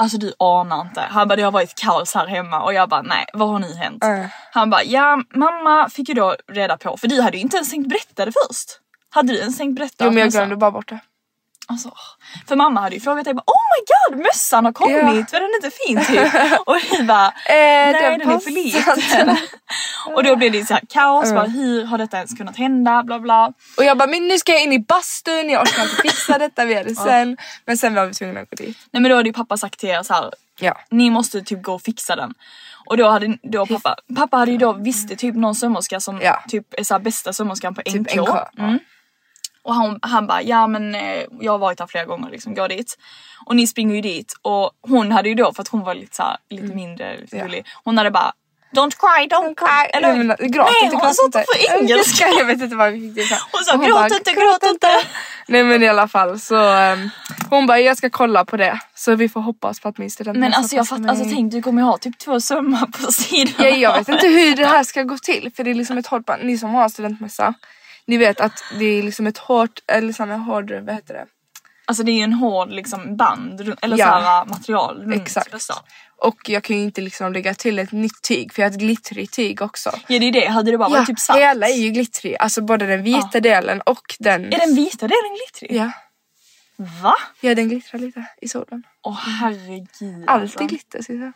Speaker 4: Alltså du anar inte. Han bara det har varit kaos här hemma och jag bara nej vad har nu hänt?
Speaker 3: Mm.
Speaker 4: Han bara ja mamma fick ju då reda på för du hade ju inte ens tänkt berätta det först. Hade du ens tänkt berätta?
Speaker 3: Jo men jag
Speaker 4: att
Speaker 3: glömde
Speaker 4: mössan-
Speaker 3: bara bort det.
Speaker 4: Alltså, för mamma hade ju frågat dig bara oh my god mössan har kommit,
Speaker 3: Ja.
Speaker 4: var den inte fin typ? Och vi bara
Speaker 3: Eh,
Speaker 4: Nej, den, är för liten. och då blev det så här kaos, bara, hur har detta ens kunnat hända? Bla bla.
Speaker 3: Och jag bara, men nu ska jag in i bastun, jag orkar inte fixa detta, vi gör det sen. Men sen var vi tvungna att gå dit.
Speaker 4: Nej men då hade ju pappa sagt till er så här,
Speaker 3: Ja.
Speaker 4: ni måste typ gå och fixa den. Och då hade då pappa, pappa hade ju då visste typ någon sömmerska som
Speaker 3: Ja.
Speaker 4: typ är så här bästa sömmerskan på NK.
Speaker 3: Typ NK. ja.
Speaker 4: Och han, han bara, ja men eh, jag har varit här flera gånger liksom, gå dit. Och ni springer ju dit och hon hade ju då, för att hon var lite så här, lite mindre lite
Speaker 3: Mm. Ja.
Speaker 4: gullig, hon hade bara Don't cry, don't cry.
Speaker 3: Eller, jag menar, gråt
Speaker 4: Nej,
Speaker 3: inte,
Speaker 4: hon
Speaker 3: gråt
Speaker 4: sa
Speaker 3: inte.
Speaker 4: inte på engelska.
Speaker 3: Jag vet inte vad vi fick det ifrån.
Speaker 4: Hon sa
Speaker 3: Och
Speaker 4: gråt
Speaker 3: bara,
Speaker 4: inte, gråt inte.
Speaker 3: Nej men i alla fall så ehm, hon bara jag ska kolla på det så vi får hoppas på att min student
Speaker 4: Men alltså jag
Speaker 3: passar
Speaker 4: fattar, alltså
Speaker 3: mig.
Speaker 4: tänk du kommer ju ha typ två sömmar på sidan.
Speaker 3: ja, jag vet inte hur det här ska gå till för det är liksom ett hårt band. Ni som har studentmössa ni vet att det är liksom ett hårt eller sån här hård vad heter det?
Speaker 4: Alltså det är ju en hård liksom band runt- eller
Speaker 3: Ja.
Speaker 4: så här äh, material runt
Speaker 3: Exakt.
Speaker 4: mössan.
Speaker 3: Och jag kan ju inte liksom lägga till ett nytt tyg för jag har ett glittrigt tyg också.
Speaker 4: Ja det är det, hade det bara varit typ svart.
Speaker 3: hela är ju glittrig, alltså både den vita delen och den...
Speaker 4: Är den vita delen glittrig?
Speaker 3: Ja.
Speaker 4: Va?
Speaker 3: ja, den glittrar lite i solen.
Speaker 4: Åh herregud. alltså.
Speaker 3: Alltid glitter syns det.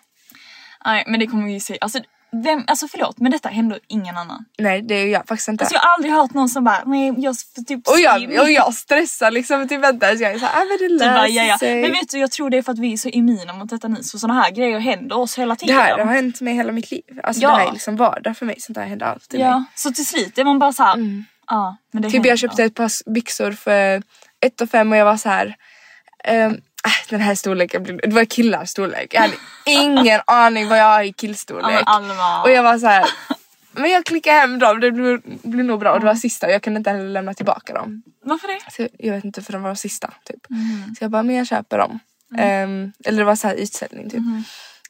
Speaker 4: Nej men det kommer vi ju se. Alltså, vem, alltså förlåt men detta händer ingen annan.
Speaker 3: Nej det gör jag faktiskt inte.
Speaker 4: Alltså jag har aldrig hört någon som bara nej jag får typ
Speaker 3: Och
Speaker 4: ser
Speaker 3: jag, och jag stressar liksom till väntan så jag är såhär, ah, men det
Speaker 4: Typ
Speaker 3: löser
Speaker 4: bara, ja, ja.
Speaker 3: sig.
Speaker 4: Men vet du jag tror det är för att vi är så immuna mot detta nu så sådana här grejer händer oss hela
Speaker 3: det
Speaker 4: tiden.
Speaker 3: här har hänt mig hela mitt liv. Alltså
Speaker 4: Ja.
Speaker 3: det här är liksom vardag för mig, sånt här händer alltid mig.
Speaker 4: Ja så till slut är man bara såhär, ja men det
Speaker 3: Mm. Typ
Speaker 4: händer.
Speaker 3: jag köpte ett par byxor för ett och fem och jag var så här. ehm, ah, den här storleken, blir- det var killars storlek. Jag hade ingen aning vad jag har i
Speaker 4: Ja,
Speaker 3: killstorlek.
Speaker 4: men Alma.
Speaker 3: Och jag var så här. Men jag klickar hem dem, det blir, blir nog bra. Och det var sista och jag kunde inte heller lämna tillbaka dem.
Speaker 4: Varför det?
Speaker 3: Så jag vet inte för de var de sista typ.
Speaker 4: Mm.
Speaker 3: Så jag bara, men jag köper dem. Ehm, eller det var så här utställning typ.
Speaker 4: Mm.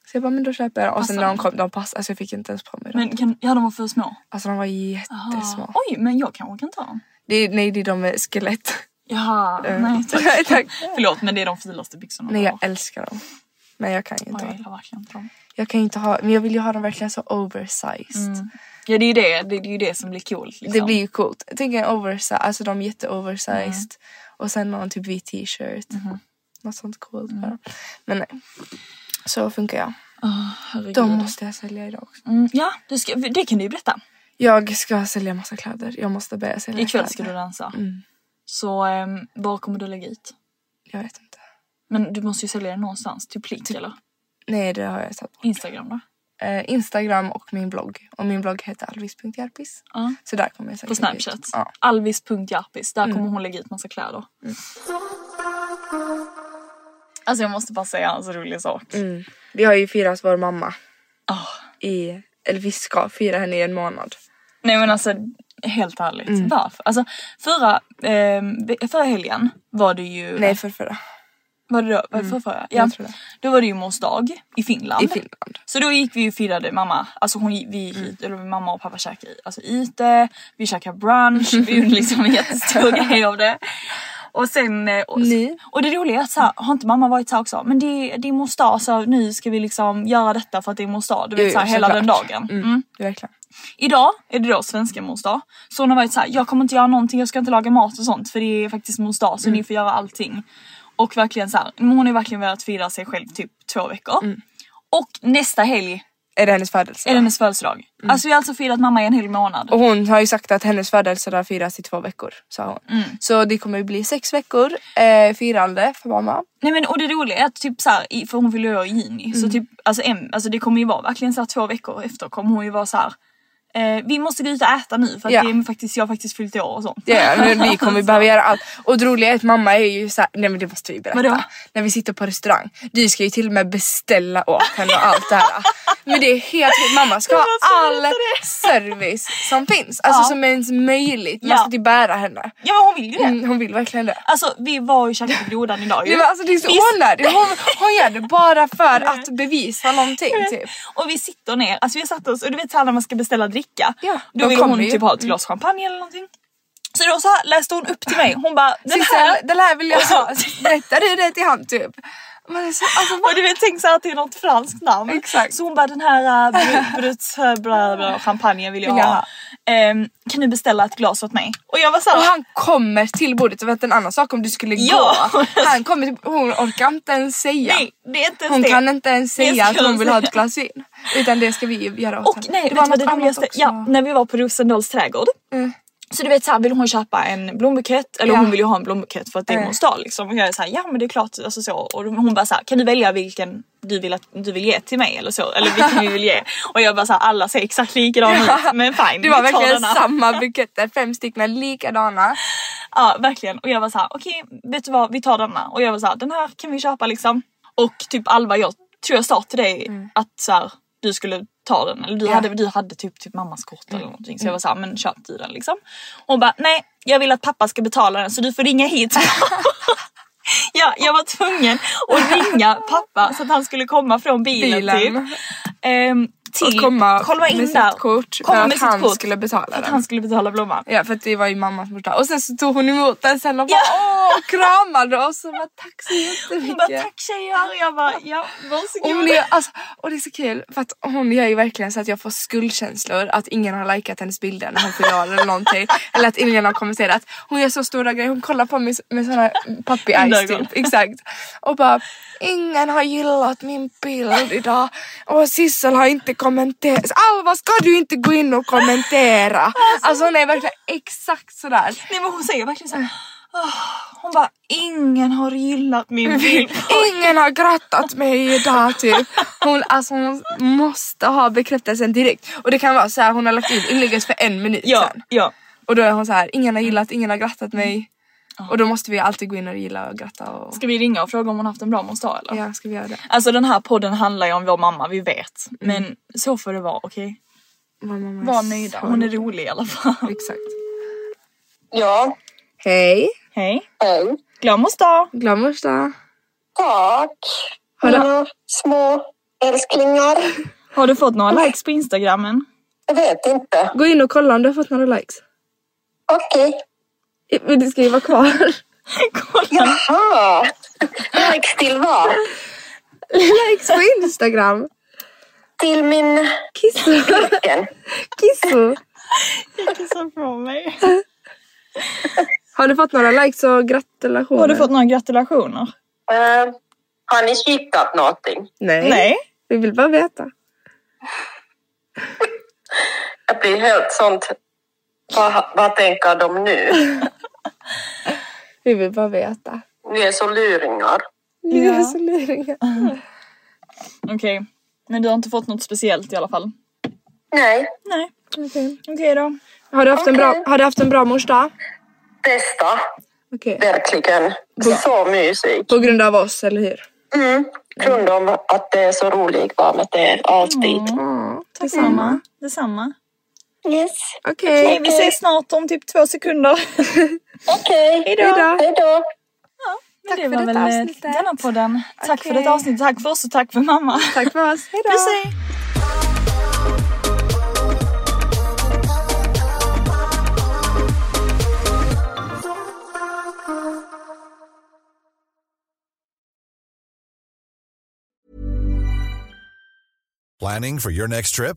Speaker 3: Så jag bara, men då köper jag dem. Och sen när de kom, de passade. Alltså jag fick inte ens på mig dem.
Speaker 4: Men kan, ja de var för små.
Speaker 3: Alltså de var jättesmå.
Speaker 4: Ah, Oj, men jag kanske kan ta dem.
Speaker 3: Det är, nej, det är de med skelett.
Speaker 4: Jaha, nej tack.
Speaker 3: Eh, Nej, tack.
Speaker 4: Förlåt men det är de filaste byxorna.
Speaker 3: Nej,
Speaker 4: jag
Speaker 3: jag
Speaker 4: har.
Speaker 3: älskar dem. Men jag kan ju
Speaker 4: Oj,
Speaker 3: inte
Speaker 4: jag
Speaker 3: ha.
Speaker 4: gillar verkligen inte dem.
Speaker 3: Jag kan ju inte ha, men jag vill ju ha dem verkligen så oversized.
Speaker 4: Ja det är ju det, det, det, är ju det som blir coolt. Mm, Liksom.
Speaker 3: Det blir ju coolt. Tänk en oversized, alltså de är jätteoversized.
Speaker 4: Mm.
Speaker 3: Och sen någon typ vit t-shirt.
Speaker 4: Mm-hmm.
Speaker 3: Något sånt coolt
Speaker 4: Mm.
Speaker 3: bara. Men nej. Så funkar jag.
Speaker 4: Herregud.
Speaker 3: De måste jag sälja idag också.
Speaker 4: Mm, ja, du ska, det kan du ju berätta.
Speaker 3: Jag Mm. ska sälja massa kläder. Jag måste börja sälja
Speaker 4: Ikväll ska
Speaker 3: kläder.
Speaker 4: du dansa. Så um, var kommer du lägga ut?
Speaker 3: Jag vet inte.
Speaker 4: Men du måste ju sälja den någonstans. Typ Plink eller?
Speaker 3: Nej det har jag tagit bort.
Speaker 4: Instagram då?
Speaker 3: Eh, Instagram och min blogg. Och min blogg heter alvis.jarpis.
Speaker 4: Ja.
Speaker 3: Så där kommer jag säkert
Speaker 4: På
Speaker 3: lägga ut.
Speaker 4: Snapchat.
Speaker 3: Ja. Mm.
Speaker 4: Alvis.japis. Där kommer hon lägga ut massa kläder. Alltså jag måste bara säga en så rolig sak.
Speaker 3: Mm. Vi har ju firat vår mamma
Speaker 4: Ah.
Speaker 3: i, eller vi ska fira henne i en månad.
Speaker 4: Nej men alltså helt ärligt.
Speaker 3: Mm.
Speaker 4: Varför? Alltså förra, ehm, ve- förra helgen var det ju...
Speaker 3: Nej för förra.
Speaker 4: Var det då? Var det förra, förra? Ja.
Speaker 3: tror det.
Speaker 4: Då var det ju mors dag i Finland.
Speaker 3: I Finland. Mm.
Speaker 4: Så då gick vi ju och firade mamma, alltså hon, gick- vi gick hit, eller mamma och pappa käkade i- alltså ute, vi käkade brunch, vi gjorde liksom en jättestor grej av det. Och sen, eh, och,
Speaker 3: Ni?
Speaker 4: och det roliga är att så här, har inte mamma varit så här också, men det, är- det är mors dag så nu ska vi liksom göra detta för att det är mors dag. Du
Speaker 3: Jo,
Speaker 4: vet så här,
Speaker 3: jo,
Speaker 4: hela den
Speaker 3: såklart.
Speaker 4: dagen.
Speaker 3: Mm.
Speaker 4: Mm.
Speaker 3: Verkligen.
Speaker 4: Idag är det då svenska mors dag. Så hon har varit så här, jag kommer inte göra någonting, jag ska inte laga mat och sånt för det är faktiskt mors dag
Speaker 3: Mm.
Speaker 4: så ni får göra allting. Och verkligen så här, men hon har ju verkligen velat fira sig själv typ två veckor.
Speaker 3: Mm.
Speaker 4: Och nästa helg
Speaker 3: Är det hennes födelsedag?
Speaker 4: är det hennes födelsedag. Alltså vi har alltså firat mamma i en hel månad.
Speaker 3: Mm. Och hon har ju sagt att hennes födelsedag firas i två veckor sa hon.
Speaker 4: Mm.
Speaker 3: Så det kommer ju bli sex veckor eh, firande för mamma.
Speaker 4: Nej men och det roliga är att typ så här, i- för hon fyller ju år i juni
Speaker 3: Mm.
Speaker 4: så typ alltså, em, alltså det kommer ju vara verkligen så här två veckor efter kommer hon ju vara så här. Eh, vi måste gå ut och äta nu för att
Speaker 3: Ja.
Speaker 4: det är faktiskt, jag har faktiskt fyllt år och sånt.
Speaker 3: Ja, ja, men vi kommer behöva göra allt. Och det roliga är att mamma är ju såhär, nej men det måste vi berätta.
Speaker 4: Vadå?
Speaker 3: När vi sitter på restaurang, du ska ju till och med beställa åt henne och allt det här. Men det är helt mamma ska ha all service som finns. Alltså
Speaker 4: Ja.
Speaker 3: som ens möjligt. Man
Speaker 4: Ja.
Speaker 3: ska till bära henne.
Speaker 4: Ja men hon vill ju det.
Speaker 3: Mm, hon vill verkligen det.
Speaker 4: Alltså vi var ju och käkade grodan idag ju.
Speaker 3: Det, var, alltså, det är så
Speaker 4: Vi-
Speaker 3: onödigt. Hon, hon gör det bara för att bevisa någonting typ.
Speaker 4: Mm. Och vi sitter ner, alltså vi har satt oss och du vet såhär när man ska beställa dricka.
Speaker 3: Ja,
Speaker 4: då
Speaker 3: de
Speaker 4: vill
Speaker 3: kommer
Speaker 4: hon
Speaker 3: ju. Mm.
Speaker 4: typ ha ett glas champagne eller någonting. Så då så här, läste hon upp till mig, hon bara den här.
Speaker 3: Sissel, den här vill jag ha. Berättar du det till han typ? Man är så, alltså,
Speaker 4: Och du vet tänk såhär att det är något franskt namn.
Speaker 3: Exakt.
Speaker 4: Så hon bara den här uh, brut, bla, bla, champagnen vill jag
Speaker 3: Vill jag
Speaker 4: ha. Ehm, kan du beställa ett glas åt mig? Och jag var
Speaker 3: Och
Speaker 4: såhär,
Speaker 3: han kommer till bordet, och vet en annan sak om du skulle
Speaker 4: Ja.
Speaker 3: gå. Han kommer till, hon orkar inte ens säga.
Speaker 4: nej det är inte ens
Speaker 3: hon
Speaker 4: det.
Speaker 3: kan inte ens
Speaker 4: Det
Speaker 3: säga att
Speaker 4: ska
Speaker 3: hon
Speaker 4: de
Speaker 3: vill ha
Speaker 4: säga.
Speaker 3: ett glas vin. Utan det ska vi göra åt
Speaker 4: Och
Speaker 3: henne.
Speaker 4: nej, det var det
Speaker 3: något
Speaker 4: roligaste,
Speaker 3: annat också. Mm.
Speaker 4: ja, när vi var på Rosendals trädgård. Så du vet såhär, vill hon köpa en blombukett, eller
Speaker 3: Ja.
Speaker 4: hon vill ju ha en blombukett för att det är
Speaker 3: Mm.
Speaker 4: mors dag liksom. Och jag är såhär, ja men det är klart, alltså så. Och hon bara såhär, kan du välja vilken du vill att du vill ge till mig eller så? Eller vilken vi vill ge? Och jag bara såhär, alla ser exakt likadana ut, men fine.
Speaker 3: Det
Speaker 4: vi
Speaker 3: var
Speaker 4: tar
Speaker 3: verkligen
Speaker 4: den här.
Speaker 3: samma buketter, fem stycken likadana.
Speaker 4: Ja verkligen och jag var så här: okej vet du vad vi tar denna och jag var så här, den här kan vi köpa liksom. Och typ Alva jag tror jag sa till dig att så här, du skulle ta den eller
Speaker 3: Mm.
Speaker 4: du,
Speaker 3: Ja. Mm.
Speaker 4: hade, du hade typ, typ mammas kort eller någonting så jag var så här, men köp du den liksom. Hon bara nej jag vill att pappa ska betala den så du får ringa hit. Ja, jag var tvungen att ringa pappa så att han skulle komma från bilen,
Speaker 3: Bilen.
Speaker 4: typ. Ehm, till,
Speaker 3: Och komma
Speaker 4: in
Speaker 3: med
Speaker 4: där.
Speaker 3: sitt kort
Speaker 4: Komma
Speaker 3: för
Speaker 4: med
Speaker 3: att
Speaker 4: sitt
Speaker 3: han
Speaker 4: kort
Speaker 3: skulle betala
Speaker 4: För att
Speaker 3: den.
Speaker 4: han skulle betala blomman.
Speaker 3: Ja för att det var ju mammas morsdag. Och sen så tog hon emot den sen och bara
Speaker 4: Ja.
Speaker 3: åh och kramade oss och bara tack så
Speaker 4: Hon bara
Speaker 3: jättemycket.
Speaker 4: tack tjejer och jag bara ja
Speaker 3: Och,
Speaker 4: varsågod.
Speaker 3: hon är, alltså, och det är så kul för att hon gör ju verkligen så att jag får skuldkänslor att ingen har likat hennes bilder när hon fyller år eller någonting. Eller att ingen har kommenterat. Hon gör så stora grejer, hon kollar på mig med såna puppy eyes
Speaker 4: Underögon.
Speaker 3: typ. Exakt. Och bara ingen har gillat min bild idag. Och Sissel har inte kommenterat. Alva ska du inte gå in och kommentera? Alltså hon är verkligen exakt sådär.
Speaker 4: Nej men hon säger verkligen såhär. "Åh", hon bara ingen har gillat min bild.
Speaker 3: Ingen har grattat mig idag typ. Hon, alltså, hon måste ha bekräftelsen direkt. Och det kan vara så här, hon har lagt ut inlägget för en minut
Speaker 4: Ja,
Speaker 3: sen.
Speaker 4: ja.
Speaker 3: Och då är hon så här, ingen har gillat, ingen har grattat mig. Och då måste vi alltid gå in och gilla och gratta. Och...
Speaker 4: Ska vi ringa och fråga om hon haft en bra måndag eller?
Speaker 3: Ja, ska vi göra det?
Speaker 4: Alltså den här podden handlar ju om vår mamma, vi vet. Men så får det vara, okej?
Speaker 3: Var, mamma
Speaker 4: Var
Speaker 3: så-
Speaker 4: nöjda, hon är rolig i alla fall.
Speaker 3: Exakt.
Speaker 5: Ja,
Speaker 3: Hej,
Speaker 4: Hej!
Speaker 5: hej.
Speaker 4: Glad mors dag!
Speaker 3: glad mors dag.
Speaker 5: Tack,
Speaker 3: Har du,
Speaker 5: mina små älsklingar.
Speaker 4: Har du fått några likes på instagrammen?
Speaker 5: Jag vet inte.
Speaker 3: gå in och kolla om du har fått några likes.
Speaker 5: Okej.
Speaker 3: I- Men det ska ju vara kvar.
Speaker 4: Kolla!
Speaker 5: Ah, likes till vad?
Speaker 3: likes på Instagram.
Speaker 5: Till min
Speaker 3: Kisso.
Speaker 5: vilken?
Speaker 3: Kisso.
Speaker 4: Jag kissar från mig.
Speaker 3: Har du fått några likes och gratulationer?
Speaker 4: Har du fått några gratulationer?
Speaker 5: Eh, har ni kittat någonting?
Speaker 3: Nej.
Speaker 4: Nej.
Speaker 3: Vi vill bara veta.
Speaker 5: Jag blir helt sånt... Vad, vad tänker de nu?
Speaker 3: Vi vill bara veta.
Speaker 5: Ni är så luringar.
Speaker 3: Ni är
Speaker 4: Ja.
Speaker 3: så luriga.
Speaker 4: Okej, men du har inte fått något speciellt i alla fall?
Speaker 5: Nej,
Speaker 4: Nej.
Speaker 3: Okej.
Speaker 4: Okej då.
Speaker 3: Har, du haft en bra,
Speaker 5: Okej.
Speaker 3: har du haft en bra morsdag?
Speaker 5: bästa.
Speaker 3: Okej.
Speaker 5: Verkligen. Så mysig.
Speaker 3: På grund av oss, eller hur?
Speaker 5: Mm. Grund om att det är så roligt var med er alltid.
Speaker 3: Ja, tack
Speaker 4: Detsamma. Detsamma.
Speaker 5: Yes.
Speaker 3: Okej.
Speaker 4: Hej, vi ses snart om typ två sekunder.
Speaker 5: Okej.
Speaker 3: Hejdå.
Speaker 5: Hej då.
Speaker 4: Tack det
Speaker 3: för
Speaker 4: var
Speaker 3: detta
Speaker 4: väl eh,
Speaker 3: avsnittet.
Speaker 4: denna podden. Tack för
Speaker 3: Okej.
Speaker 4: detta avsnitt. Tack för oss och tack för mamma.
Speaker 3: Tack för oss. Hejdå.
Speaker 4: Puss hej!
Speaker 6: Planning for your next trip?